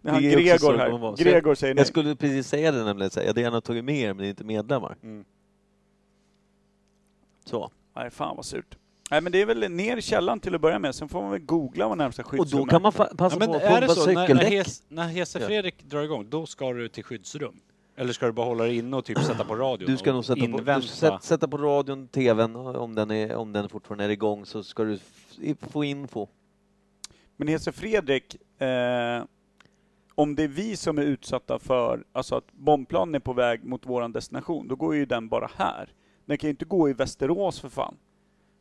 S1: Det är han
S3: Det är också så
S1: Gregor
S3: det kommer vara.
S1: här.
S3: Så
S1: Gregor säger nej.
S3: Jag skulle precis säga det nämligen, så här, jag hade gärna tagit med er men ni är inte medlemmar.
S2: Mm.
S3: Så.
S1: Nej, fan vad surt. Nej men det är väl ner i källaren till att börja med, sen får man väl googla vad närmsta
S3: Och
S1: skyddsrum
S3: då kan
S1: är.
S3: man fa- passa
S2: Ja, men
S3: på att
S2: är det
S3: pumpa
S2: så, när, när,
S3: cykeldäck.
S2: Hes, när Hese
S3: Ja.
S2: Fredrik drar igång, då ska du till skyddsrum? Eller ska du bara hålla dig inne och typ sätta på radion
S3: Du ska
S2: och
S3: nog sätta på,
S2: invänta?
S3: du sätt, sätta på radion, tvn, om den, är, om den fortfarande är igång så ska du f- få info.
S1: Men Hesse Fredrik, eh, om det är vi som är utsatta för, alltså att bombplanen är på väg mot våran destination, då går ju den bara här. Den kan ju inte gå i Västerås för fan.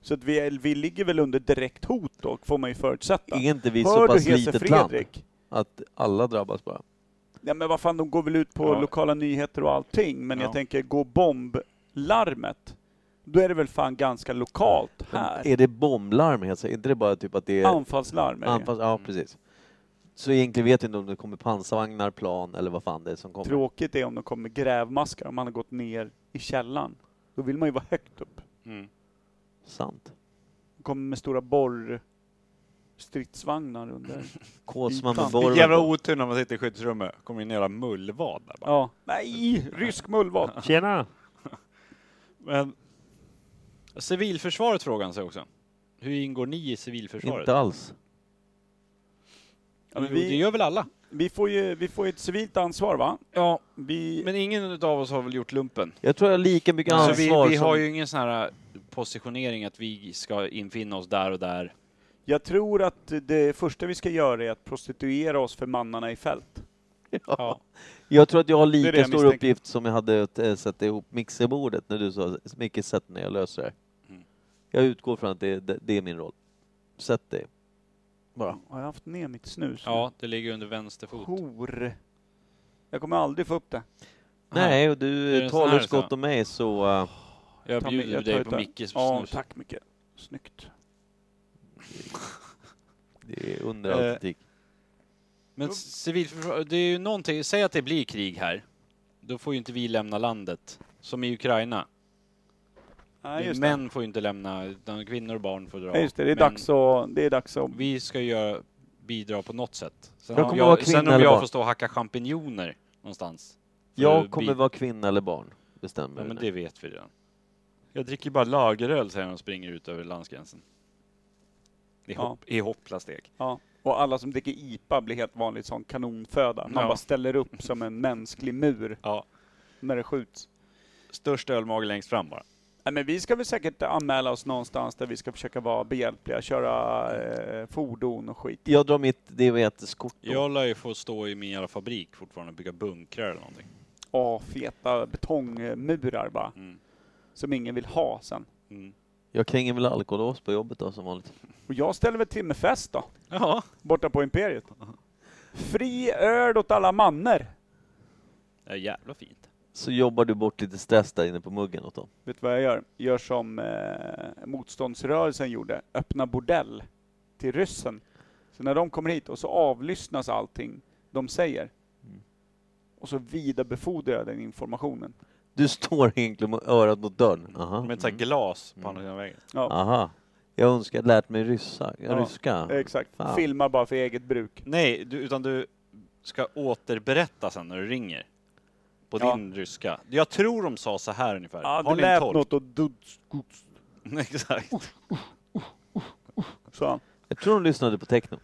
S1: Så att vi, är, vi ligger väl under direkt hot då, får man ju förutsätta.
S3: Är inte vi så
S1: Hör
S3: pass
S1: du Hesse
S3: litet land
S1: Fredrik?
S3: att alla drabbas bara?
S1: Ja men vad fan, de går väl ut på
S2: Ja.
S1: lokala nyheter och allting, men
S2: Ja.
S1: jag tänker, gå bomblarmet, då är det väl fan ganska lokalt här.
S3: Är det bomblarm? Alltså? Är inte det bara typ att det är...
S1: Anfallslarm är det.
S3: anfalls- ja, precis. Så egentligen vet jag inte om det kommer pansarvagnar, plan eller vad fan det är som kommer.
S1: Tråkigt är om de kommer med grävmaskar, om man har gått ner i källan. Då vill man ju vara högt upp.
S2: Mm.
S3: Sant.
S1: De kommer med stora borr stridsvagnar under.
S3: Kåsman
S1: Fan,
S3: med
S2: Vilken jävla
S3: borren.
S2: otur när man sitter i skyddsrummet. kommer in en jävla mullvad där bara.
S1: Ja. Nej! Rysk mullvad!
S3: Tjena!
S2: Men Civilförsvaret frågar han sig också. Hur ingår ni i civilförsvaret?
S3: Inte alls.
S2: Ja,
S1: Ja,
S2: men
S1: men
S2: jo,
S1: vi-
S2: Det gör väl alla?
S1: Vi får ju vi får ju ett civilt ansvar va?
S2: Ja,
S1: Vi,
S2: men ingen utav oss har väl gjort lumpen?
S3: Jag tror jag har lika mycket
S2: Så
S3: ansvar
S2: vi, vi
S3: som...
S2: har ju ingen sån här positionering att vi ska infinna oss där och där.
S1: jag tror att det första vi ska göra är att prostituera oss för mannarna i fält.
S2: Ja.
S3: Jag tror att jag har lika
S1: jag
S3: stor
S1: misstänker.
S3: uppgift som jag hade att eh, sätta ihop mixerbordet när du sa Micke sätt när jag löser det här.
S2: Mm.
S3: Jag utgår från att det, det, det är min roll. Sätt dig. Bara.
S1: Har jag haft ner mitt snus?
S2: ja, det ligger under vänster fot.
S1: Hor. Jag kommer aldrig få upp det.
S3: Nej, och
S2: Är det
S3: du
S2: en sån här
S3: talar så
S2: så?
S3: gott om mig så... eh,
S2: Jag
S1: Ta
S2: bjuder
S1: med- jag tar
S2: dig
S1: ut
S2: på
S1: den.
S2: Mickes
S1: Ja,
S2: snus.
S1: tack mycket. Snyggt.
S3: det är under all
S2: Eh,
S3: kritik.
S2: Men civilförsvar, det är ju någonting, säg att det blir krig här. Då får ju inte vi lämna landet. Som i Ukraina.
S1: Nej, just det.
S2: Män får ju inte lämna, utan kvinnor och barn får dra.
S1: Nej, just det. Det är
S2: Men
S1: dags att... Det är dags att...
S2: Vi ska ju göra- bidra på något sätt. Sen
S3: Jag
S2: om
S3: kommer vara kvinna
S2: sen om
S3: eller
S2: jag
S3: barn.
S2: får stå och hacka champinjoner någonstans. för
S3: Jag
S2: att
S3: kommer
S2: bi-
S3: vara kvinna eller barn, bestämmer
S2: Ja,
S3: du
S2: men
S3: nu.
S2: det vet vi redan. Jag dricker bara lageröl säger han och springer ut över landsgränsen. I,
S1: Ja.
S2: hopp, i hoppla steg.
S1: Ja. Och alla som dricker IPA blir helt vanligt sån kanonföda. Man
S2: Ja.
S1: bara ställer upp som en mänsklig mur
S2: Ja.
S1: när det skjuts.
S2: Störst ölmage längst fram bara.
S1: Nej, men vi ska väl säkert anmäla oss någonstans där vi ska försöka vara behjälpliga, köra eh, fordon och skit.
S3: Jag drar mitt diabeteskort då.
S2: Jag lär ju få stå i min jävla fabrik fortfarande och bygga bunkrar eller någonting.
S1: Åh, feta betongmurar bara,
S2: Mm.
S1: som ingen vill ha sen.
S2: Mm.
S3: Jag kränger väl alkoholås på jobbet då, som vanligt.
S1: Och jag ställer väl till med fest då,
S2: Ja.
S1: borta på Imperiet. Fri öl åt alla manner!
S2: Det är jävla fint.
S3: Så jobbar du bort lite stress där inne på muggen åt dem.
S1: Vet du vad jag gör? Gör som eh, motståndsrörelsen gjorde, öppna bordell till ryssen. Så när de kommer hit och så avlyssnas allting de säger.
S3: Mm.
S1: Och så vidarebefordrar jag den informationen.
S3: Du står egentligen med örat mot dörren. Aha.
S2: Med ett sånt här
S3: Mm.
S2: glas på
S3: Mm.
S2: andra sidan vägen.
S1: Ja,
S3: Aha. Jag önskar jag lärt mig ryssa.
S1: Ja,
S3: ryska.
S1: exakt.
S3: Ah, Fan.
S1: Filmar bara för eget bruk.
S2: Nej, du, utan du ska återberätta sen när du ringer. På
S1: Ja.
S2: din ryska. Jag tror de sa så här ungefär.
S1: Ja,
S2: Har
S1: det
S2: ni en
S1: lät
S2: tolk?
S1: något och duds, guds,
S2: Exakt.
S1: sa han.
S3: Jag tror de lyssnade på techno.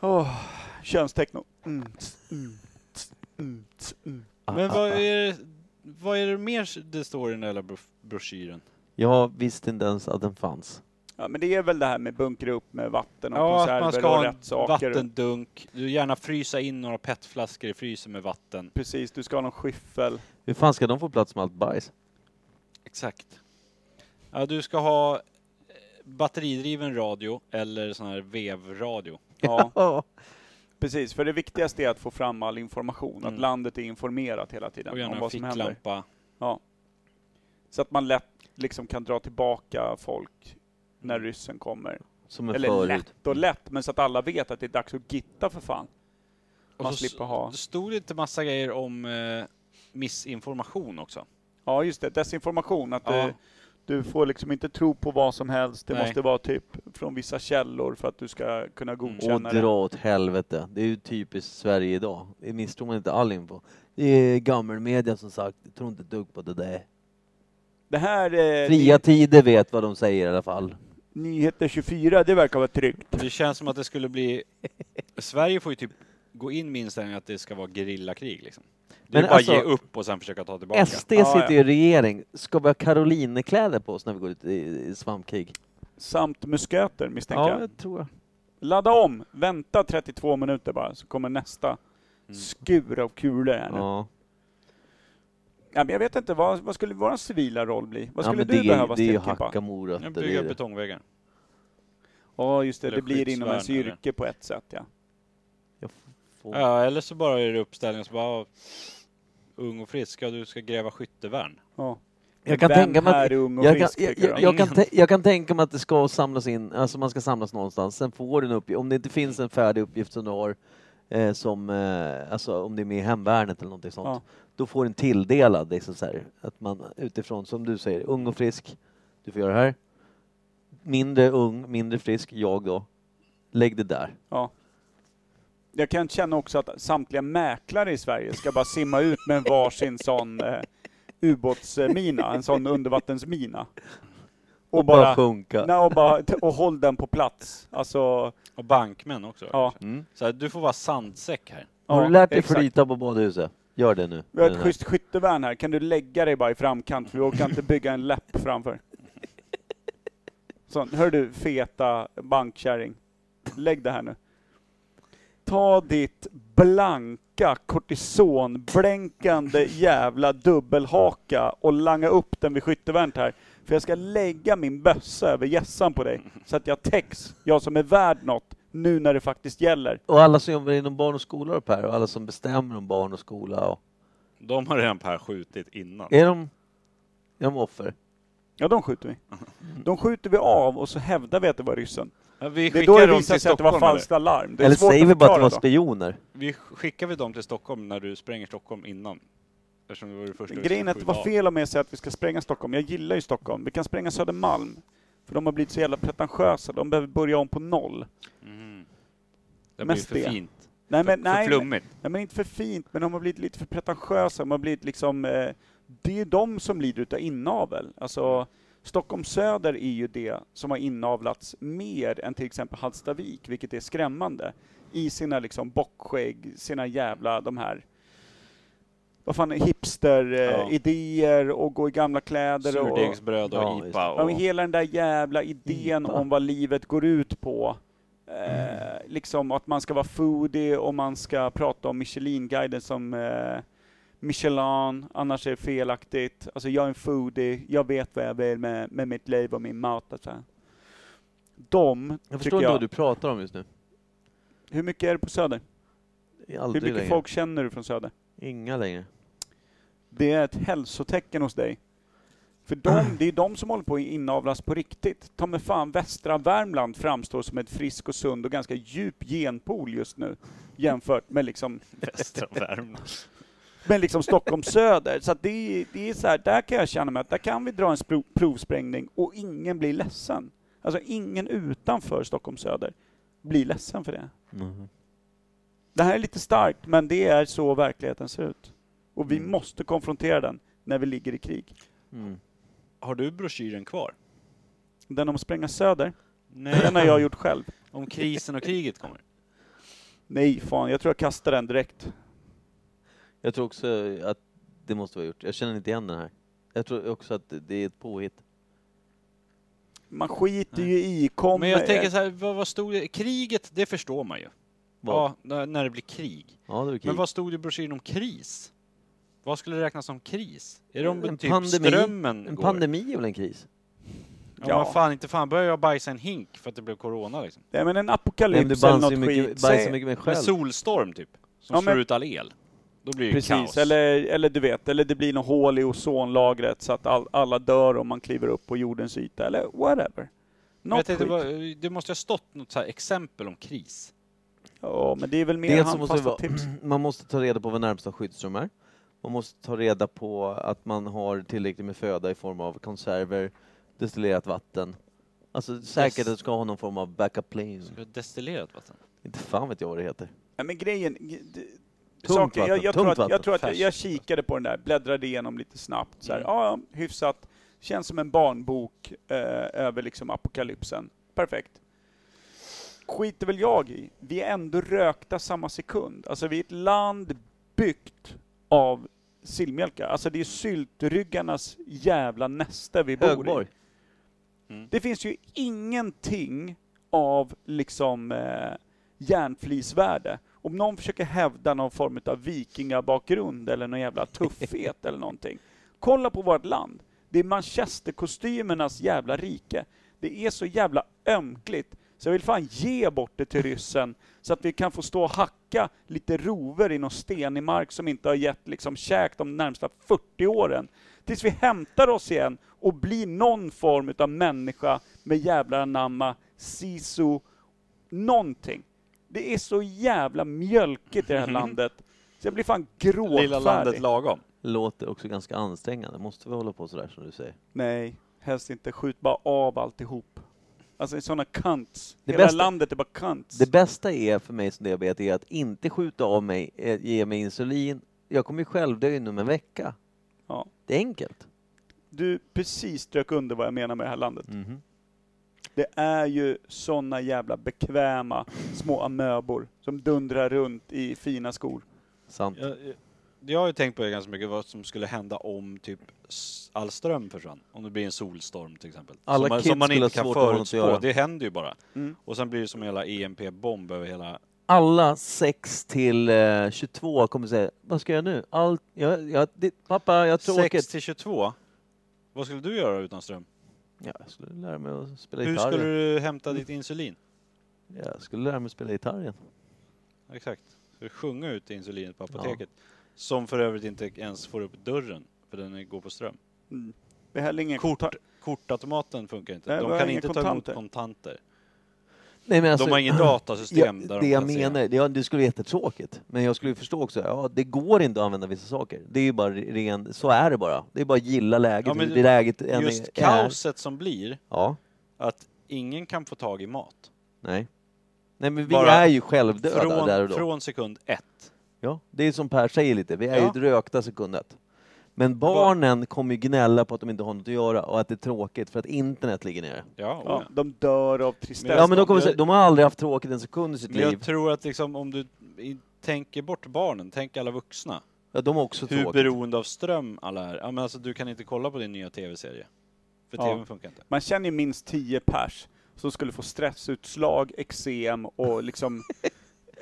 S1: Åh, könstechno. Mm, tss, mm, tss, mm, tss, mm.
S3: Ah,
S2: Men
S3: ah,
S2: vad
S3: ah.
S2: är, det- vad är det mer det står i den där jävla brof- broschyren?
S3: Jag visste inte ens att den fanns.
S1: Ja, men det är väl det här med bunkra upp med vatten och
S2: Ja, att man
S1: konserver
S2: ska
S1: och
S2: ha en
S1: rätt saker.
S2: vattendunk. Du gärna frysa in några petflaskor i frysen med vatten.
S1: Precis, du ska ha någon skyffel.
S3: Hur fan ska de få plats med allt bajs?
S2: Exakt. Ja, du ska ha eh, batteridriven radio eller sån här vevradio.
S1: Ja.
S3: Ja.
S1: Precis, för det viktigaste är att få fram all information,
S2: Mm.
S1: att landet är informerat hela tiden
S2: Och gärna
S1: om
S2: en
S1: vad som händer.
S2: ficklampa.
S1: Så att man lätt liksom kan dra tillbaka folk när
S2: Mm.
S1: ryssen kommer.
S3: Som en
S1: Eller
S3: förut.
S1: lätt och lätt, men så att alla vet att det är dags att gitta för fan.
S2: Och
S1: Man
S2: så s-
S1: slipper ha...
S2: Det stod inte massa grejer om eh, missinformation också.
S1: Ja just det, desinformation. Att
S2: Ja.
S1: du, du får liksom inte tro på vad som helst. Det
S2: Nej. Mm.
S1: måste vara typ från vissa källor för att du ska kunna
S3: Och
S1: godkänna det.
S3: dra åt helvete. Det är ju typiskt Sverige idag. Vi misstror man inte all info. Det är gammelmedia som sagt. Jag tror inte ett dugg på det där.
S1: Det här... Eh,
S3: Fria
S1: ny,
S3: tider vet vad de säger i alla fall.
S1: Nyheter 24, det verkar vara tryggt.
S2: Det känns som att det skulle bli... Sverige får ju typ gå in med inställningen att det ska vara gerillakrig liksom. Det är
S3: Men
S2: bara
S3: alltså-
S2: ge upp och sen försöka ta tillbaka.
S3: SD
S1: Ja,
S3: sitter
S1: ja.
S3: i regering. Ska vi ha karolinekläder på oss när vi går ut i, i svampkrig?
S1: Samt musköter misstänker jag.
S3: det tror jag.
S1: Ladda om, vänta 32 minuter bara så kommer nästa
S2: Mm.
S1: skur av kulor här nu. Ja.
S3: Ja.
S1: men jag vet inte, vad, vad skulle vår civila roll bli? Vad
S3: ja,
S1: skulle
S3: men
S1: du
S3: det, är-
S1: behöva
S3: Det är ju
S1: Stilkimpa?
S3: hacka
S2: Men
S3: morötter. det
S2: Bygga
S3: är det.
S2: betongväggar.
S1: Ja just det,
S2: Eller
S1: det blir inom ens
S2: skyddsvärn, eller?
S1: yrke på ett sätt ja.
S3: Jag f-
S1: Oh.
S3: får-
S2: Ja, eller så bara är det uppställning och så bara... ja, Ung och frisk, ja du ska gräva skyttevärn.
S1: ja.
S3: Jag kan
S1: Vem
S3: tänka mig att-
S1: här är ung och
S3: Jag kan,
S1: frisk
S3: jag,
S1: tycker
S3: jag,
S1: du? Mm.
S3: jag, kan
S2: Ingen.
S3: tän- jag kan tänka mig att det ska samlas in, alltså man ska samlas någonstans, sen får du en uppgift, om det inte finns en färdig uppgift som du har, eh, som, eh, alltså om det är med i hemvärnet eller någonting sånt,
S1: Ja.
S3: då får du en tilldelad, liksom så här, att man utifrån, som du säger, ung och frisk, du får göra det här, mindre ung, mindre frisk, jag då, lägg det där.
S1: Jag kan känna också att samtliga mäklare i Sverige ska bara simma ut med en varsin sån eh, ubåtsmina, en sån undervattensmina.
S3: Och, bara sjunka.
S1: nej, och, bara och håll den på plats. Alltså,
S2: Och bankmän också.
S1: ja.
S3: Mm.
S2: Så här, du får vara sandsäck här.
S3: Har
S1: ja,
S3: du lärt dig
S1: exakt.
S3: flyta på badhuset? Gör det nu.
S1: Vi har
S3: Den
S1: ett
S3: här.
S1: schysst skyttevärn här, kan du lägga dig bara i framkant för vi orkar inte bygga en läpp framför. Sån, hör du feta bankkärring, lägg det här nu. Ta ditt blanka kortisonblänkande jävla dubbelhaka och langa upp den vid skyttevärnet här. För jag ska lägga min bössa över gässan på dig så att jag täcks, jag som är värd något, nu när det faktiskt gäller.
S3: Och alla som jobbar inom barn och skola då Per, och alla som bestämmer om barn och skola. Och...
S2: De har redan Per skjutit innan.
S1: Eh,
S3: Är, de, är de offer?
S1: Ja, de skjuter vi. De skjuter vi av och så hävdar vi att det var ryssen.
S2: Ja, Vi
S1: Det är då
S2: skickar
S1: det
S2: dem
S1: visar
S2: till
S1: sig att det var
S2: Stockholm. eller?
S1: falskt larm. Det är
S3: Eller
S1: svårt
S3: säger
S1: att
S3: vi bara att de var
S1: förklara
S3: spioner?
S2: Vi skickar vi dem till Stockholm när du spränger Stockholm innan? Eftersom det var det första
S1: då.
S2: vi
S1: Grejen är att
S2: skulle
S1: det
S2: skjuta
S1: var
S2: av.
S1: fel av mig att säga att vi ska spränga Stockholm. Jag gillar ju Stockholm. Vi kan spränga Södermalm. För de har blivit så jävla pretentiösa. De behöver börja om på noll.
S2: Mm. Det blir
S1: Mest
S2: för
S1: det.
S2: fint.
S1: Nej
S2: för,
S1: men, nej,
S2: för
S1: men-
S2: flummigt.
S1: nej men inte för fint, men de har blivit lite för pretentiösa. De har blivit liksom, eh, det är ju de som lider utav inavel. Alltså, Stockholm söder är ju det som har inavlats mer än till exempel Hallstavik, vilket är skrämmande. I sina liksom bockskägg, sina jävla de här vad fan,
S2: Ja.
S1: hipster-idéer och gå i gamla kläder och...
S2: Surdegsbröd och
S3: Ja,
S2: IPA.
S1: Ja, men
S2: Och,
S1: hela den där jävla idén
S3: Ipa.
S1: om vad livet går ut på.
S3: Mm.
S1: Eh, liksom att man ska vara foodie och man ska prata om Michelin-guiden som eh, Michelin, annars är det felaktigt. Alltså jag är en foodie, jag vet vad jag vill med, med mitt liv och min mat. Och så här. De,
S3: Jag förstår
S1: tycker
S3: inte
S1: jag,
S3: vad du pratar om just nu.
S1: hur mycket är det på Söder?
S3: Det är
S1: Hur
S3: Aldrig
S1: mycket
S3: längre.
S1: folk känner du från Söder?
S3: Inga längre.
S1: Det är ett hälsotecken hos dig. För de, det är de som håller på att inavlas på riktigt. Ta med fan, västra Värmland framstår som ett frisk och sund och ganska djup genpool just nu jämfört med liksom,
S2: västra Värmland.
S1: med liksom Stockholm söder. Så att det, är- det är så här, där kan jag känna mig att där kan vi dra en spro- provsprängning och ingen blir ledsen. Alltså ingen utanför Stockholm söder blir ledsen för det. Det här är lite starkt, men det är så verkligheten ser ut. Och vi
S3: Mm.
S1: måste konfrontera den när vi ligger i krig.
S3: Mm.
S2: Har du broschyren kvar?
S1: Den om att spränga söder,
S2: Nej,
S1: den har jag gjort själv.
S2: om krisen och kriget kommer.
S1: Nej, fan, jag tror jag kastar den direkt.
S3: Jag tror också att det måste vara gjort. Jag känner inte igen den här. Jag tror också att det- det är ett påhitt.
S1: Man skiter ju i, kommer...
S2: Men jag tänker så här, vad, vad stod det? Kriget, det förstår man ju.
S3: Vad?
S2: Ja, när- när det blir krig.
S3: Ja, det är okej.
S2: Men vad stod det i broschyren om kris? Vad skulle räknas som kris? Är det om
S3: En
S2: typ
S3: pandemi.
S2: strömmen
S3: En
S2: går?
S3: pandemi är väl en kris?
S2: Ja,
S1: Ja.
S2: Men fan, inte fan börjar jag bajsa en hink för att det blev corona liksom.
S1: Nej, men en
S3: Nej, men
S1: apokalyps
S3: du
S1: eller
S3: bajsar ju
S1: något
S3: mycket,
S1: skit.
S3: bajsar
S1: Säg,
S3: mycket mer
S2: Men
S3: själv.
S2: solstorm typ, som
S1: Ja, men-
S2: slår ut all el. Då blir det kaos.
S1: precis, eller, eller du vet, eller det blir något hål i ozonlagret så att all, alla dör om man kliver upp på jordens yta, eller whatever.
S2: men jag
S1: Något skit.
S2: tänkte, vad, det måste ha stått något så här exempel om kris.
S1: Ja, men det är väl mer
S3: Dels så måste
S1: handfasta
S3: det
S1: tips.
S3: Man måste ta reda på vad närmsta skyddsrum är. Man måste ta reda på att man har tillräckligt med föda i form av konserver, destillerat vatten. Alltså säkert att du ska ha någon form av backup plan.
S2: Ska det vara destillerat vatten?
S3: Inte fan vet jag vad det heter.
S1: Nej, men grejen... g- d-
S3: Tungt
S1: saker, jag,
S3: vatten,
S1: jag, tror
S3: tungt
S1: att, jag tror att jag,
S2: vatten.
S1: jag kikade på den där, bläddrade igenom lite snabbt. Så här,
S2: Mm.
S1: ja, ja, hyfsat. Känns som en barnbok eh, över liksom apokalypsen. Perfekt. Skiter väl jag i. Vi är ändå rökta samma sekund. Alltså vi är ett land byggt av sillmjölkar. Alltså det är syltryggarnas jävla näste vi bor i.
S3: Högborg.
S1: Det finns ju ingenting av liksom eh, järnflisvärde. Om någon försöker hävda någon form av vikingabakgrund eller någon jävla tuffhet eller någonting. Kolla på vårt land. Det är manchesterkostymernas jävla rike. Det är så jävla ömkligt. Så jag vill fan ge bort det till ryssen så att vi kan få stå och hacka lite rover i någon stenig mark som inte har gett liksom käk de närmsta 40 åren. Tills vi hämtar oss igen och blir någon form utav människa med jävlar anamma, sisu, någonting. Det är så jävla mjölkigt i det här landet. Så jag blir fan gråtfärdig.
S2: Lilla landet lagom.
S3: Låter också ganska ansträngande. Måste vi hålla på sådär som du säger?
S1: Nej, helst inte. Skjut bara av alltihop. Alltså sådana cunts.
S3: Det
S1: Hela
S3: bästa-
S1: landet är bara cunts.
S3: Det bästa är för mig som diabetiker är att inte skjuta av mig, eh, ge mig insulin. Jag kommer ju självdö inom en vecka.
S1: Ja.
S3: Det är enkelt.
S1: Du precis strök under vad jag menar med det här landet. Det är ju såna jävla bekväma små amöbor som dundrar runt i fina skor.
S3: Sant.
S2: Jag, jag- jag har ju tänkt på det ganska mycket, vad som skulle hända om typ s- all ström försvann. Om det blir en solstorm till exempel.
S3: Alla
S2: som, man-
S3: kids
S2: som man
S3: skulle
S2: inte
S3: ha
S2: kan
S3: svårt att ha något att
S2: förutspå.
S3: göra.
S2: Det händer ju bara.
S1: Mm.
S2: Och sen blir det som en jävla EMP-bomb över hela...
S3: Alla 6 till eh, 22 kommer säga, vad ska jag nu? Allt, jag, jag, det, pappa, jag har
S2: 6
S3: tråkigt.
S2: till 22. Vad skulle du göra utan ström?
S3: Ja, jag skulle lära mig att spela
S2: Hur
S3: gitarr.
S2: skulle
S3: igen.
S2: du hämta ditt insulin?
S3: Ja, Jag skulle lära mig att spela gitarr igen.
S2: Exakt. Ska du sjunga ut insulinet på apoteket? Som för övrigt inte ens får upp dörren, för den går på ström.
S1: Mm. Det är heller ingen
S2: Kort,
S1: konta-
S2: kortautomaten funkar inte.
S1: Nej, vi
S2: de
S1: har
S2: kan
S1: inga
S2: inte ta emot
S1: kontanter.
S2: kontanter.
S3: Nej, men
S2: de har inget datasystem
S3: Alltså, Ja,
S2: där
S3: det
S2: de
S3: jag
S2: kan se.
S3: menar, det, ja, det skulle vara jättetråkigt. Men jag skulle ju förstå också, ja, det går inte att använda vissa saker. Det är ju bara ren, så är det bara. Det är bara att gilla läget.
S2: Ja,
S3: hur
S2: men
S3: det läget än
S2: Just
S3: är.
S2: kaoset som blir,
S3: Ja,
S2: att ingen kan få tag i mat.
S3: nej. Nej men vi
S2: Bara
S3: är ju självdöda där och
S2: Från,
S3: då.
S2: från sekund ett.
S3: Ja, det är som Per säger lite, vi är
S2: Ja.
S3: ju rökta sekundet. Men barnen kommer ju gnälla på att de inte har något att göra och att det är tråkigt för att internet ligger nere.
S2: Ja,
S1: Ja,
S2: ja.
S1: de dör av tristess.
S2: Men-
S3: Ja men de, kommer
S2: jag-
S3: säga, de har aldrig haft tråkigt en sekund i sitt
S2: Men jag
S3: liv.
S2: tror att liksom om du i- tänker bort barnen, tänk alla vuxna.
S3: Ja, de har också
S2: Hur
S3: tråkigt.
S2: beroende av ström alla är. Ja, men alltså, du kan inte kolla på din nya tv-serie. För
S1: Ja.
S2: tvn funkar inte.
S1: Man känner ju minst 10 pers som skulle få stressutslag, eksem och liksom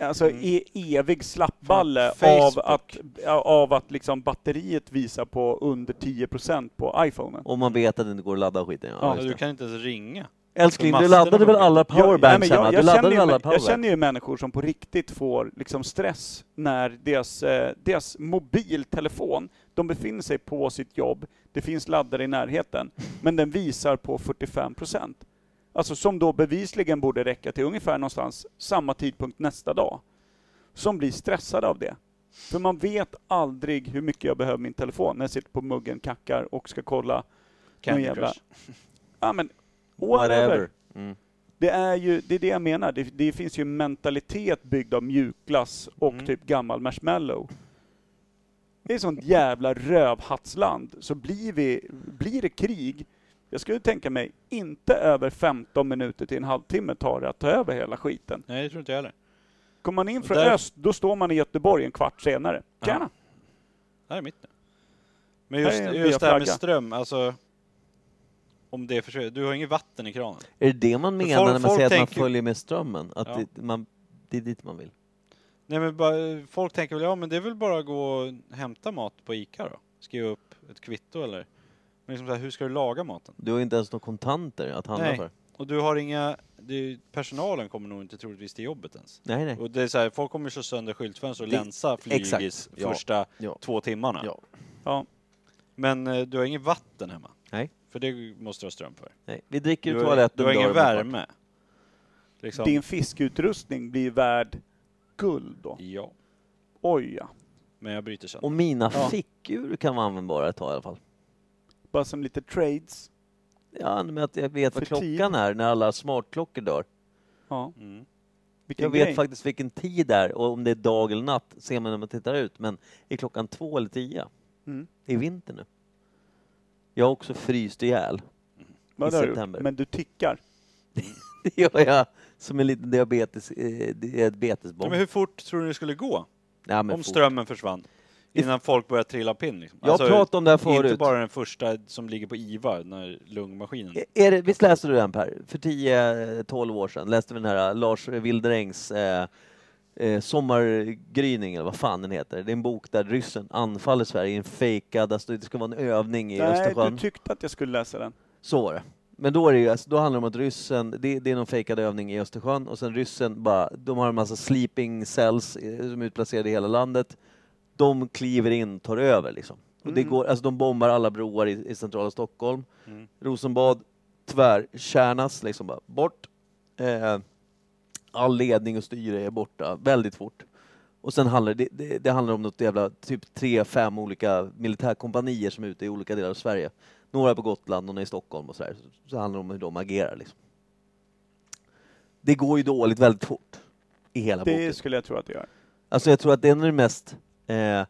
S1: Alltså e- evig slappballe
S2: Fan,
S1: av
S2: Facebook.
S1: att, av att liksom batteriet visar på under 10% på iPhonen.
S3: Om man vet att det inte går att ladda skiten. Ja,
S2: Ja,
S3: just
S2: Alltså, du
S3: det.
S2: kan inte ens ringa.
S3: Älskling,
S2: för
S3: du
S2: masterna
S3: laddade väl
S2: funkar.
S3: alla
S1: nej,
S3: powerbanks
S1: men
S3: hemma? Du
S1: jag,
S3: laddade
S1: känner
S3: väl
S1: ju,
S3: alla
S1: jag känner
S3: powerbanks?
S1: ju människor som på riktigt får liksom stress när deras, eh, deras mobiltelefon, de befinner sig på sitt jobb, det finns laddare i närheten, men den visar på 45%. Alltså som då bevisligen borde räcka till ungefär någonstans samma tidpunkt nästa dag. Som blir stressade av det. För man vet aldrig hur mycket jag behöver min telefon när jag sitter på muggen, kackar och ska kolla.
S2: Candy
S1: jävla-
S2: Crush.
S1: Ja men, whatever.
S3: Whatever. Mm.
S1: Det är ju, det är det jag menar. Det, det finns ju en mentalitet byggd av mjukglass och
S2: Mm.
S1: typ gammal marshmallow. Det är sånt jävla rövhatsland. Så blir, vi, blir det krig, jag skulle tänka mig, inte över 15 minuter till en halvtimme tar det att ta över hela skiten.
S2: Nej, det tror inte jag heller.
S1: Kommer man in
S2: Och
S1: från
S2: där-
S1: öst, då står man i Göteborg en kvart senare.
S2: Ja.
S1: Tjena!
S2: Det här är mitt nu. Men
S1: Här
S2: just,
S1: är en
S2: just det här med
S1: B-flagga.
S2: ström, alltså. Om det försvinner. Du har inget vatten i kranen.
S3: Är det det man
S2: För
S3: menar
S2: folk-
S3: när man
S2: folk
S3: säger att man
S2: tänker-
S3: följer med strömmen? Att
S2: Ja.
S3: det, man, det är dit man vill?
S2: Nej men bara, folk tänker väl, ja men det är väl bara att gå och hämta mat på ICA då? Skriva upp ett kvitto eller? Men liksom så här, hur ska du laga maten?
S3: Du har ju inte ens några kontanter att handla
S2: Nej.
S3: för.
S2: Och du har inga, det, är ju- personalen kommer nog inte troligtvis till jobbet ens.
S3: Nej, nej.
S2: Och det är så här, folk kommer ju slå sönder skyltfönster och
S3: Det-
S2: länsa flygis
S3: exakt, ja,
S2: första
S3: ja.
S2: två timmarna.
S3: Ja.
S1: Ja.
S2: Men eh, du har inget vatten hemma.
S3: Nej.
S2: För det måste du ha ström för.
S3: nej. Vi dricker
S2: Du
S3: ur
S2: har,
S3: toaletten.
S2: du har
S3: dör
S2: ingen
S3: om ett par.
S2: värme. Liksom.
S1: Din fiskutrustning blir värd guld då.
S2: Ja.
S1: Oj ja.
S2: Men jag bryter sen.
S3: Och mina
S1: Ja.
S3: fickur kan vara användbara ett tag i alla fall.
S1: Bara som lite trades.
S3: Ja, men att jag vet vad
S1: För tid.
S3: klockan är när alla smartklockor dör.
S1: Ja,
S2: Mm.
S1: vilken
S3: Jag vet
S1: grej.
S3: faktiskt vilken tid det är och om det är dag eller natt ser man när man tittar ut. Men är klockan två eller tio?
S1: Mm.
S3: Det är vinter nu. Jag har också fryst ihjäl.
S1: Vad
S3: i
S1: har du gjort?
S3: september.
S1: Men du tickar.
S3: Det gör jag som en liten diabetes, eh,
S2: Ja,
S3: diabetesbomb.
S2: men hur fort tror du det skulle gå?
S3: Nej, men
S2: om
S3: fort.
S2: strömmen försvann. Innan folk börjar trilla pinn liksom.
S3: Jag
S2: Alltså,
S3: pratade om det här
S2: Inte
S3: förut. Eh.
S2: bara den första som ligger på IVA, när lungmaskinen.
S3: Är- Är det, visst läste du den Per? För 10-12 år sedan läste vi den här eh, Lars Wilderängs eh, eh, Sommargryning eller vad fan den heter. Det är en bok där ryssen anfaller Sverige i en fejkad, alltså det ska vara en övning i
S1: Nej,
S3: Östersjön.
S1: du tyckte att jag skulle läsa den.
S3: Så var det. Men då, är det ju, alltså, då handlar det om att ryssen, det, det är någon fejkad övning i Östersjön och sen ryssen bara, de har en massa sleeping cells eh, som är utplacerade i hela landet. De kliver in, tar över liksom. Och det
S1: Mm.
S3: går, alltså de bombar alla broar i, i centrala Stockholm. Rosenbad tvärkärnas liksom bara bort. Eh, all ledning och styre är borta väldigt fort. Och sen handlar det, det, det handlar om något jävla typ tre, fem olika militärkompanier som är ute i olika delar av Sverige. Några är på Gotland, några är i Stockholm och sådär. Så, så handlar det om hur de agerar liksom. Det går ju dåligt väldigt fort i hela boken.
S1: Det skulle jag tro att det gör.
S3: Alltså jag tror att den är den mest eh,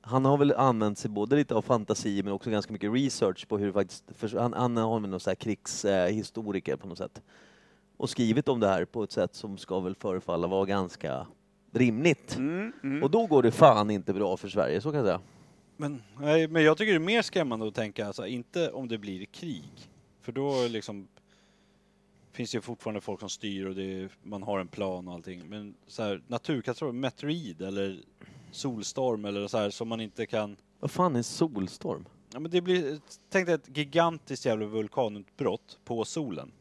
S3: han har väl använt sig både lite av fantasi men också ganska mycket research på hur det faktiskt, för han, han har väl någon sån här krigshistoriker på något sätt. Och skrivit om det här på ett sätt som ska väl förefalla vara ganska rimligt.
S1: Mm, mm.
S3: Och då går det fan inte bra för Sverige, så kan jag säga.
S2: Men, nej, men jag tycker det är mer skrämmande att tänka, alltså, inte om det blir krig. För då liksom finns det ju fortfarande folk som styr och det är, man har en plan och allting. Men så här, naturkatastrofer, meteorid eller solstorm eller så här som man inte kan...
S3: Vad fan är solstorm?
S2: Ja, men det blir, tänk dig ett gigantiskt jävla vulkanutbrott på solen.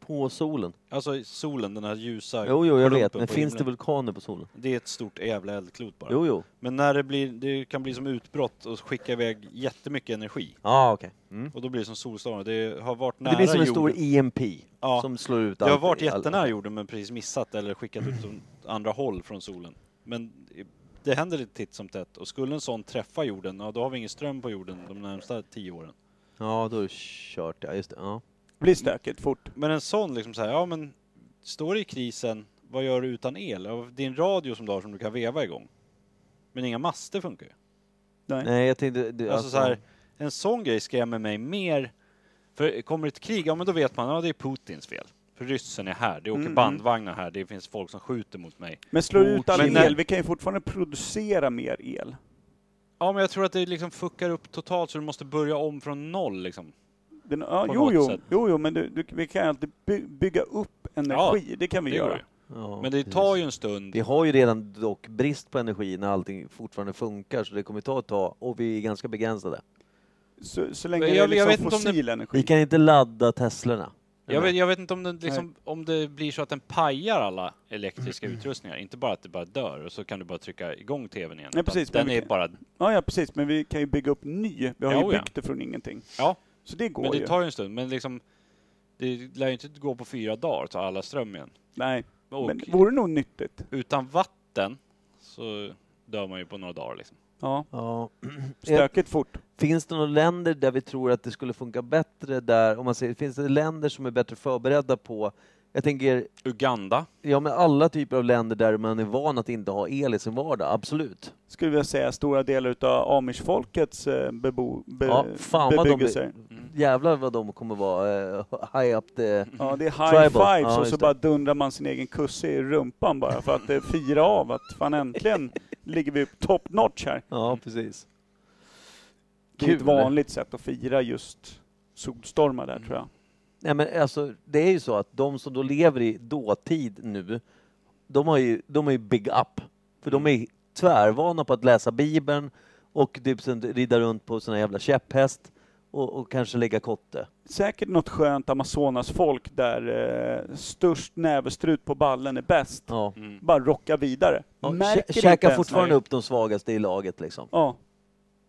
S3: På solen?
S2: Alltså solen, den här ljusa
S3: Jo, jo, jag vet.
S2: klumpen
S3: Men
S2: på
S3: finns det
S2: himlen.
S3: vulkaner på solen?
S2: Det är ett stort jävla eldklot bara.
S3: Jo, jo.
S2: Men när det blir, det kan bli som utbrott och skicka iväg jättemycket energi.
S3: Ja, ah, okej. Mm.
S2: Och då blir det som solstormar. Det har varit nära
S3: Det blir som en stor
S2: jorden.
S3: EMP
S2: Ja.
S3: som slår ut
S2: Det har
S3: allt-
S2: varit
S3: all-
S2: jättenära jorden men precis missat eller skickat ut från andra håll från solen. Men det händer lite titt som tätt och skulle en sån träffa jorden, ja då har vi ingen ström på jorden de närmsta tio åren.
S3: Ja, då är det kört. Ja, just det. Ja.
S1: Blir stökigt fort.
S2: Men en sån liksom så här, ja men står det i krisen, vad gör du utan el? Ja, Din radio som du har som du kan veva igång. Men inga master funkar ju.
S1: Nej.
S3: Nej, jag tänkte... Du,
S2: Alltså så här, en sån grej skrämmer mig mer. För kommer ett krig, ja men då vet man, ja det är Putins fel. För ryssen är här, det åker
S1: Mm.
S2: bandvagnar här, det finns folk som skjuter mot mig.
S1: Men slår ut all
S2: Men
S1: el,
S2: när-
S1: vi kan ju fortfarande producera mer el.
S2: Ja men jag tror att det liksom fuckar upp totalt så du måste börja om från noll liksom.
S1: Den, ja,
S2: På
S1: jo,
S2: något
S1: jo,
S2: sätt.
S1: jo, jo, men du, du, vi kan ju alltid by, bygga upp energi, det kan vi
S2: det
S1: göra.
S2: går ju.
S3: ja,
S2: Men det
S3: precis.
S2: tar ju en stund.
S3: Vi har ju redan dock brist på energi när allting fortfarande funkar så det kommer ta ett tag och vi är ganska begränsade.
S1: Så, så länge
S2: Jag-
S1: det är
S2: jag
S1: liksom
S2: vet inte om det-
S1: fossil energi.
S3: Vi kan inte ladda Teslorna.
S2: Jag vet, jag vet inte om, den, liksom, om det blir så att den pajar alla elektriska
S1: Mm.
S2: utrustningar. Inte bara att det bara dör och så kan du bara trycka igång tvn igen.
S1: Nej,
S2: utan
S1: precis, men
S2: Den
S1: vi
S2: är
S1: kan-
S2: bara...
S1: Ja, ja, precis, men vi kan ju bygga upp ny. Vi har
S2: Jo,
S1: ju
S2: ja.
S1: byggt det från ingenting.
S2: Ja,
S1: Så det går
S2: men
S1: ju.
S2: det tar ju en stund. Men liksom, det lär ju inte gå på fyra dagar att ta alla ström igen.
S1: Nej,
S2: Och
S1: men det vore nog nyttigt.
S2: utan vatten så dör man ju på några dagar liksom.
S1: Ja,
S3: Ja. Eh,
S1: stökigt fort.
S3: Finns det några länder där vi tror att det skulle funka bättre där, om man säger, finns det länder som är bättre förberedda på, jag tänker,
S2: Uganda.
S3: ja men alla typer av länder där man är van att inte ha el i sin vardag, absolut.
S1: Skulle vilja säga stora delar utav amishfolkets eh, bebo, be,
S3: Ja, fan vad de-
S1: bebyggelser.
S2: Mm.
S3: Jävlar vad de kommer vara eh, high up the...
S1: Ja, det är
S3: Tribal.
S1: high fives
S3: Ja,
S1: och
S3: just
S1: så
S3: det.
S1: bara dundrar man sin egen kusse i rumpan bara för att eh, fira av att fan äntligen ligger vi top notch här.
S3: Ja, precis.
S1: Det är ett
S3: Kul.
S1: vanligt sätt att fira just solstormar där
S2: Mm.
S1: tror jag.
S3: Nej, men alltså, det är ju så att de som då lever i dåtid nu, de har ju, de har ju big up. För de
S1: Mm.
S3: är tvärvana på att läsa Bibeln och typ sen rida runt på såna jävla käpphäst och, och kanske lägga kotte.
S1: Säkert något skönt Amazonasfolk där eh, störst nävestrut på ballen är bäst.
S3: Ja.
S2: Mm.
S1: Bara rocka vidare.
S3: Ja,
S1: Märker
S3: kä-
S1: inte
S3: käkar
S1: ens
S3: fortfarande
S1: när-
S3: upp de svagaste i laget liksom.
S1: Ja.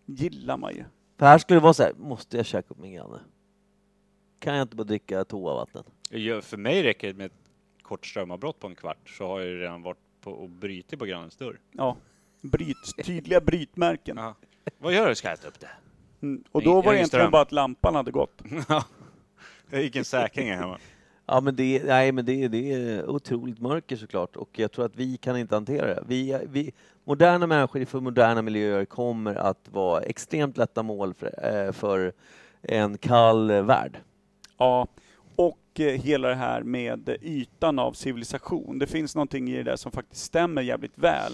S1: Gillar man ju.
S3: För här skulle det vara så här, måste jag käka upp min granne? Kan jag inte bara dricka toavatten?
S2: Ja, För mig räcker det med ett kort strömavbrott på en kvart så har jag ju redan varit på och brutit på grannens dörr.
S1: Ja. Bryt, tydliga brytmärken.
S2: Ja. Vad gör du? Ska jag äta upp det?
S1: Mm. Och
S2: Jag-
S1: då
S2: jag
S1: var
S2: är
S1: det egentligen
S2: ström.
S1: bara att lampan hade gått.
S2: Jag gick en säkring här hemma.
S3: Ja men det, nej, men det, det är otroligt mörker såklart och jag tror att vi kan inte hantera det. Vi, vi, moderna människor för moderna miljöer kommer att vara extremt lätta mål för, eh, för en kall eh, värld.
S1: Ja. Och eh, hela det här med ytan av civilisation. Det finns någonting i det där som faktiskt stämmer jävligt väl.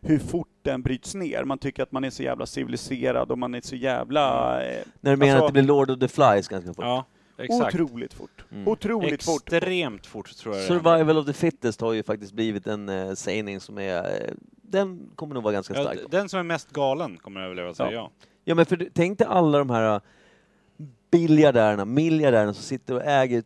S1: Hur fort den bryts ner. Man tycker att man är så jävla civiliserad och man är så jävla... Eh,
S3: När du menar
S1: Alltså-
S3: att det blir Lord of the Flies ganska fort?
S2: Ja, exakt.
S1: otroligt fort.
S3: Mm.
S1: Otroligt fort.
S2: Extremt fort tror jag det är.
S3: Survival of the fittest har ju faktiskt blivit en eh, sägning som är... Eh, den kommer nog vara ganska
S2: Ja,
S3: stark.
S2: d- den som är mest galen kommer att överleva, säger jag.
S3: Ja men för du- tänk dig alla de här äh, biljardärerna, miljardärerna som sitter och äger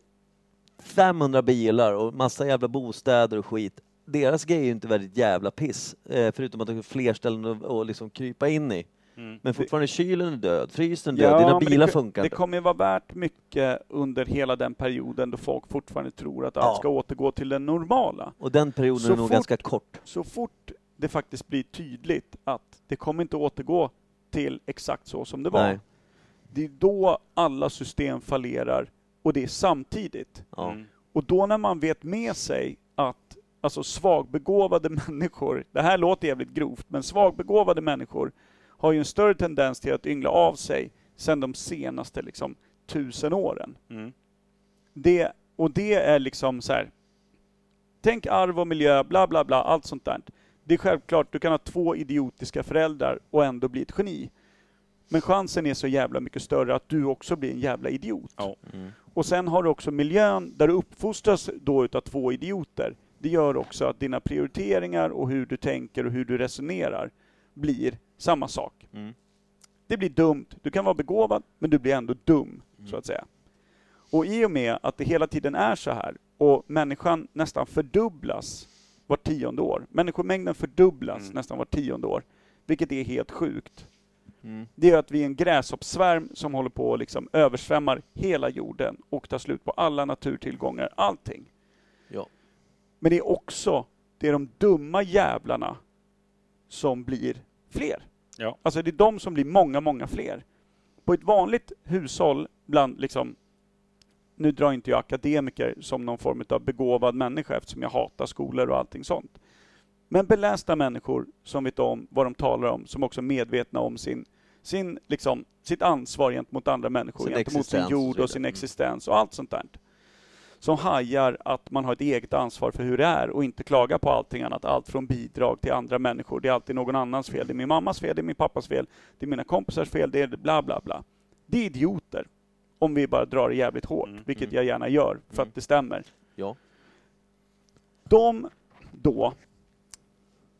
S3: 500 bilar och massa jävla bostäder och skit. Deras grej är ju inte väldigt jävla piss, eh, förutom att de har fler ställen att att liksom krypa in i.
S2: Mm.
S3: Men fortfarande kylen är död, frysen är död, dina
S1: men det
S3: bilar
S1: ko-
S3: funkar
S1: Det
S3: inte.
S1: kommer ju vara värt mycket under hela den perioden då folk fortfarande tror att
S3: Ja.
S1: allt ska återgå till det normala.
S3: Och den perioden
S1: Så
S3: är nog
S1: fort-
S3: ganska kort.
S1: Så fort det faktiskt blir tydligt att det kommer inte återgå till exakt så som det var.
S3: Nej.
S1: Det är då alla system fallerar och det är samtidigt.
S3: Ja.
S2: Mm.
S1: Och då när man vet med sig att alltså svagbegåvade människor, det här låter jävligt grovt, men svagbegåvade människor har ju en större tendens till att yngla av sig sedan de senaste liksom tusen åren.
S2: Mm.
S1: Det, och det är liksom så här. Tänk arv och miljö, bla bla bla, allt sånt där. Det är självklart, du kan ha två idiotiska föräldrar och ändå bli ett geni. Men chansen är så jävla mycket större att du också blir en jävla idiot.
S2: Ja.
S3: Mm.
S1: Och sen har du också miljön där du uppfostras då utav två idioter. Det gör också att dina prioriteringar och hur du tänker och hur du resonerar blir samma sak.
S3: Mm.
S1: Det blir dumt. Du kan vara begåvad, men du blir ändå dum, så
S2: Mm.
S1: att säga. Och i och med att det hela tiden är så här och människan nästan fördubblas var tionde år. Människomängden fördubblas
S2: Mm.
S1: nästan var tionde år, vilket är helt sjukt.
S3: Mm.
S1: Det är att vi är en gräshoppssvärm som håller på och liksom översvämmar hela jorden och tar slut på alla naturtillgångar, allting.
S3: Ja.
S1: Men det är också, det är de dumma jävlarna som blir fler.
S2: Ja.
S1: Alltså det är de som blir många, många fler. På ett vanligt hushåll bland liksom, nu drar inte jag akademiker som någon form av begåvad människa eftersom jag hatar skolor och allting sånt. Men belästa människor som vet om vad de talar om, som också är medvetna om sin, sin, liksom, sitt ansvar gentemot andra människor,
S3: Sin
S1: gentemot sin
S3: existens och så
S1: jord och sin
S3: vidare. Mm.
S1: existens och allt sånt där. Som hajar att man har ett eget ansvar för hur det är och inte klaga på allting annat. Allt från bidrag till andra människor. Det är alltid någon annans fel. Det är min mammas fel, det är min pappas fel, det är mina kompisars fel, det är bla bla bla. Det är idioter. Om vi bara drar det jävligt hårt,
S2: Mm,
S1: vilket
S3: mm.
S1: jag gärna gör för
S3: Mm.
S1: att det stämmer.
S3: Ja.
S1: De då,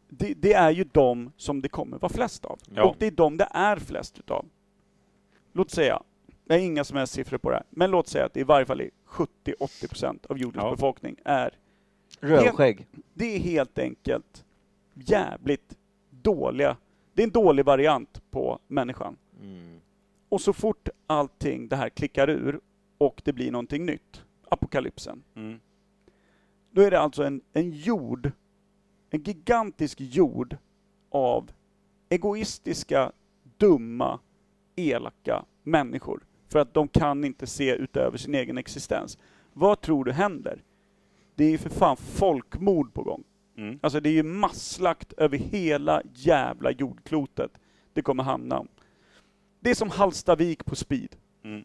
S1: det, det är ju de som det kommer vara flest av.
S2: Ja.
S1: Och det är de det är flest utav. Låt säga, jag har inga som helst siffror på det här, men låt säga att det i varje fall är 70-80% av jordens
S2: Ja.
S1: befolkning är
S3: Rövskägg.
S1: det är helt enkelt jävligt dåliga, det är en dålig variant på människan.
S3: Mm.
S1: Och så fort allting det här klickar ur och det blir någonting nytt, apokalypsen,
S2: Mm.
S1: då är det alltså en, en jord, en gigantisk jord av egoistiska, dumma, elaka människor. För att de kan inte se utöver sin egen existens. Vad tror du händer? Det är ju för fan folkmord på gång.
S2: Mm.
S1: Alltså det är ju masslakt över hela jävla jordklotet det kommer hamna om. Det är som Hallstavik på speed.
S2: Mm.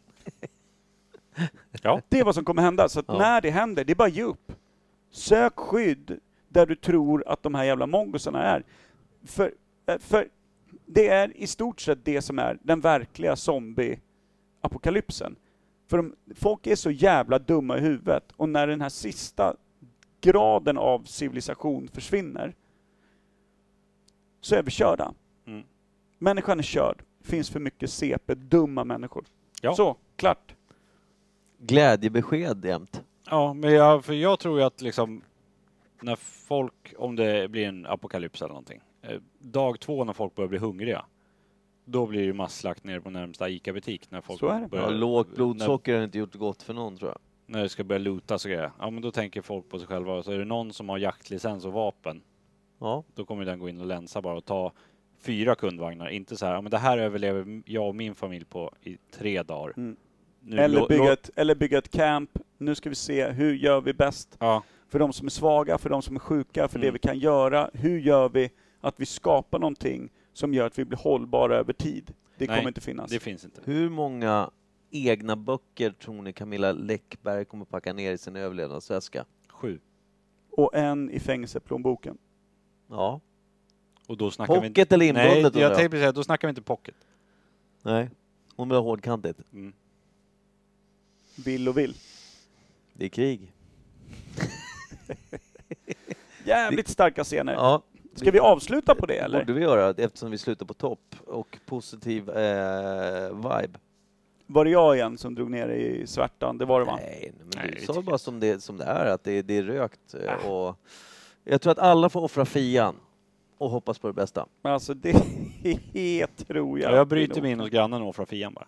S2: Ja.
S1: Det är vad som kommer hända. Så att
S3: Ja.
S1: när det händer, det är bara att ge upp. Sök skydd där du tror att de här jävla mongosarna är. För, eh, för det är i stort sett det som är den verkliga zombie-apokalypsen. För de, folk är så jävla dumma i huvudet och när den här sista graden av civilisation försvinner så är vi körda.
S2: Mm.
S1: Människan är körd. finns för mycket CP-dumma människor.
S2: Ja.
S1: Så, klart.
S3: Glädjebesked jämt.
S2: Ja, men jag, för jag tror ju att liksom när folk, om det blir en apokalyps eller någonting, eh, dag två när folk börjar bli hungriga, då blir det ju masslakt nere på närmsta ICA-butik när folk
S1: Så är det.
S3: Ja,
S2: börjar...
S3: lågt blodsocker har inte gjort gott för någon tror jag.
S2: När, när det ska börja luta så grejer. Ja, men då tänker folk på sig själva och så är det någon som har jaktlicens och vapen,
S3: Ja.
S2: då kommer den gå in och länsa bara och ta fyra kundvagnar. Inte så här, ja men det här överlever jag och min familj på i tre dagar.
S1: Mm.
S2: Nu
S1: Eller
S2: lå-
S1: bygga,
S2: lå-
S1: ett, eller bygga ett camp. Nu ska vi se, hur gör vi bäst?
S2: Ja,
S1: För de som är svaga, för de som är sjuka, för det
S2: Mm.
S1: vi kan göra. Hur gör vi att vi skapar någonting som gör att vi blir hållbara över tid? Det
S2: Nej,
S1: kommer inte finnas.
S2: det finns inte.
S3: Hur många egna böcker tror ni Camilla Läckberg kommer packa ner i sin överlevnadsväska?
S2: Sju.
S1: Och en i fängelseplånboken.
S3: Ja.
S2: Och då snackar vi inte...
S3: Pocket eller
S2: Nej,
S3: inbundet
S2: jag
S3: undrar
S2: tänkte precis säga, då snackar vi inte pocket.
S3: Nej. Hon vill ha hårdkantigt.
S2: Mm.
S1: Vill och vill.
S3: Det är krig.
S1: Jävligt starka scener.
S3: Ja.
S1: Ska vi avsluta på det
S3: Det
S1: eller?
S3: borde vi göra eftersom vi slutar på topp och positiv eh, vibe.
S1: Var det jag igen som drog ner i svärtan? Det var det va?
S3: Nej, men
S2: Nej,
S3: du
S2: det
S3: sa
S2: tycker
S3: bara som det, som det är, att det, det är rökt. eh, Och jag tror att alla får offra fian och hoppas på det bästa.
S1: Men alltså det tror jag.
S2: Ja, jag bryter mig in hos grannen och offrar fian bara.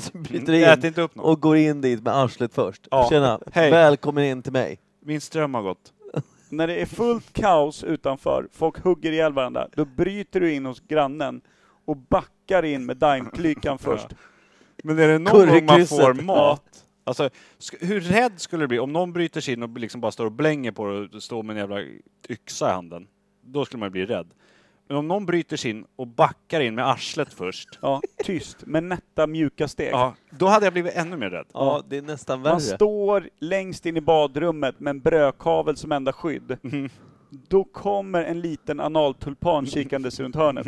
S3: Så bryter
S2: Jag
S3: in
S2: äter Mm, inte upp något.
S3: och går in dit med arslet först.
S2: Ja.
S3: Tjena,
S2: Hej.
S3: välkommen in till mig.
S2: Min ström har gått.
S1: När det är fullt kaos utanför, folk hugger ihjäl varandra, då bryter du in hos grannen och backar in med daimklykan först.
S2: Men är det någon gång man
S3: Currykrysset.
S2: får mat, Alltså, sk- hur rädd skulle du bli om någon bryter sig in och liksom bara står och blänger på dig och står med en jävla yxa i handen? Då skulle man ju bli rädd. Men om någon bryter sig in och backar in med arslet först,
S1: Ja, tyst, men nätta mjuka steg.
S2: ja, då hade jag blivit ännu mer rädd.
S3: Ja, det är nästan
S1: Man
S3: värre.
S1: står längst in i badrummet med en brödkavel som enda skydd. Då kommer en liten analtulpan kikandes runt hörnet.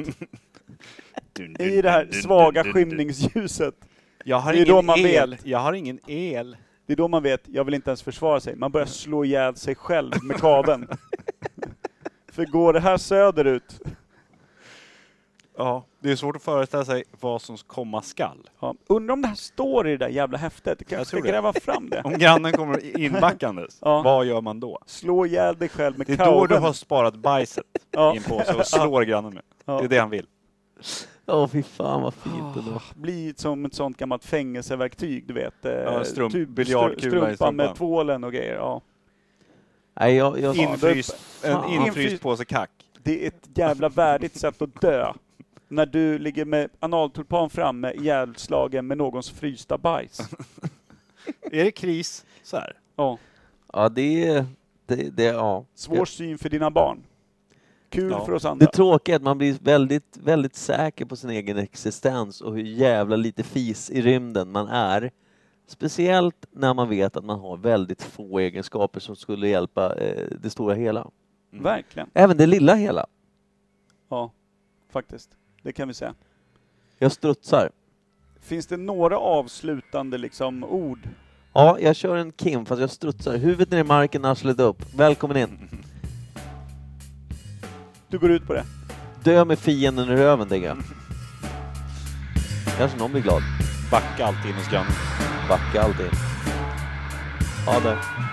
S1: I det här svaga skymningsljuset.
S2: Jag har
S1: Det är då
S2: ingen
S1: man
S2: el.
S1: vet.
S2: Jag har ingen el.
S1: Det är då man vet, jag vill inte ens försvara sig. Man börjar slå ihjäl sig själv med kaveln. För går det här söderut,
S2: Ja, det är svårt att föreställa sig vad som komma skall.
S1: ja. undrar om det här står i det där jävla häftet? Jag kanske
S2: Jag
S1: ska
S2: tror det.
S1: gräva fram det?
S2: Om grannen kommer inbackandes,
S1: Ja.
S2: vad gör man då?
S1: Slå ihjäl dig själv med
S2: Det är då du
S1: kaveln.
S2: har sparat bajset
S1: Ja.
S2: i en påse och slår grannen med.
S1: Ja.
S2: Det är det han vill.
S3: Åh fy fan vad fint ändå.
S1: bli som ett sånt gammalt fängelseverktyg, du vet. eh,
S2: Ja, strump-
S1: typ stru-
S2: biljardkula i
S1: strumpan med
S2: strumpan.
S1: tvålen och grejer. Ja.
S3: Nej, jag, jag,
S2: Infryst, en
S3: Fan.
S2: infryst påse kack.
S1: Det är ett jävla värdigt sätt att dö. När du ligger med analtulpan framme, ihjälslagen med någons frysta bajs.
S2: Är det kris så här?
S1: Ja.
S3: ja, det är... Det, det, ja.
S1: Svår syn för dina barn. Kul
S2: Ja.
S1: för oss
S3: Det
S1: andra.
S3: tråkiga är att man blir väldigt, väldigt säker på sin egen existens och hur jävla lite fis i rymden man är. Speciellt när man vet att man har väldigt få egenskaper som skulle hjälpa eh, det stora hela.
S1: Verkligen.
S3: Även det lilla hela.
S1: Ja, faktiskt. Det kan vi säga.
S3: Jag strutsar.
S1: Finns det några avslutande liksom, ord?
S3: Ja, jag kör en Kim fast jag strutsar. Huvudet ner i marken, arslet upp. Välkommen in.
S1: Du går ut på det.
S3: Dö med fienden i röven, tänker jag. Kanske någon blir glad.
S2: Backa alltid in hos grannen.
S3: Backa alltid. Ja, där.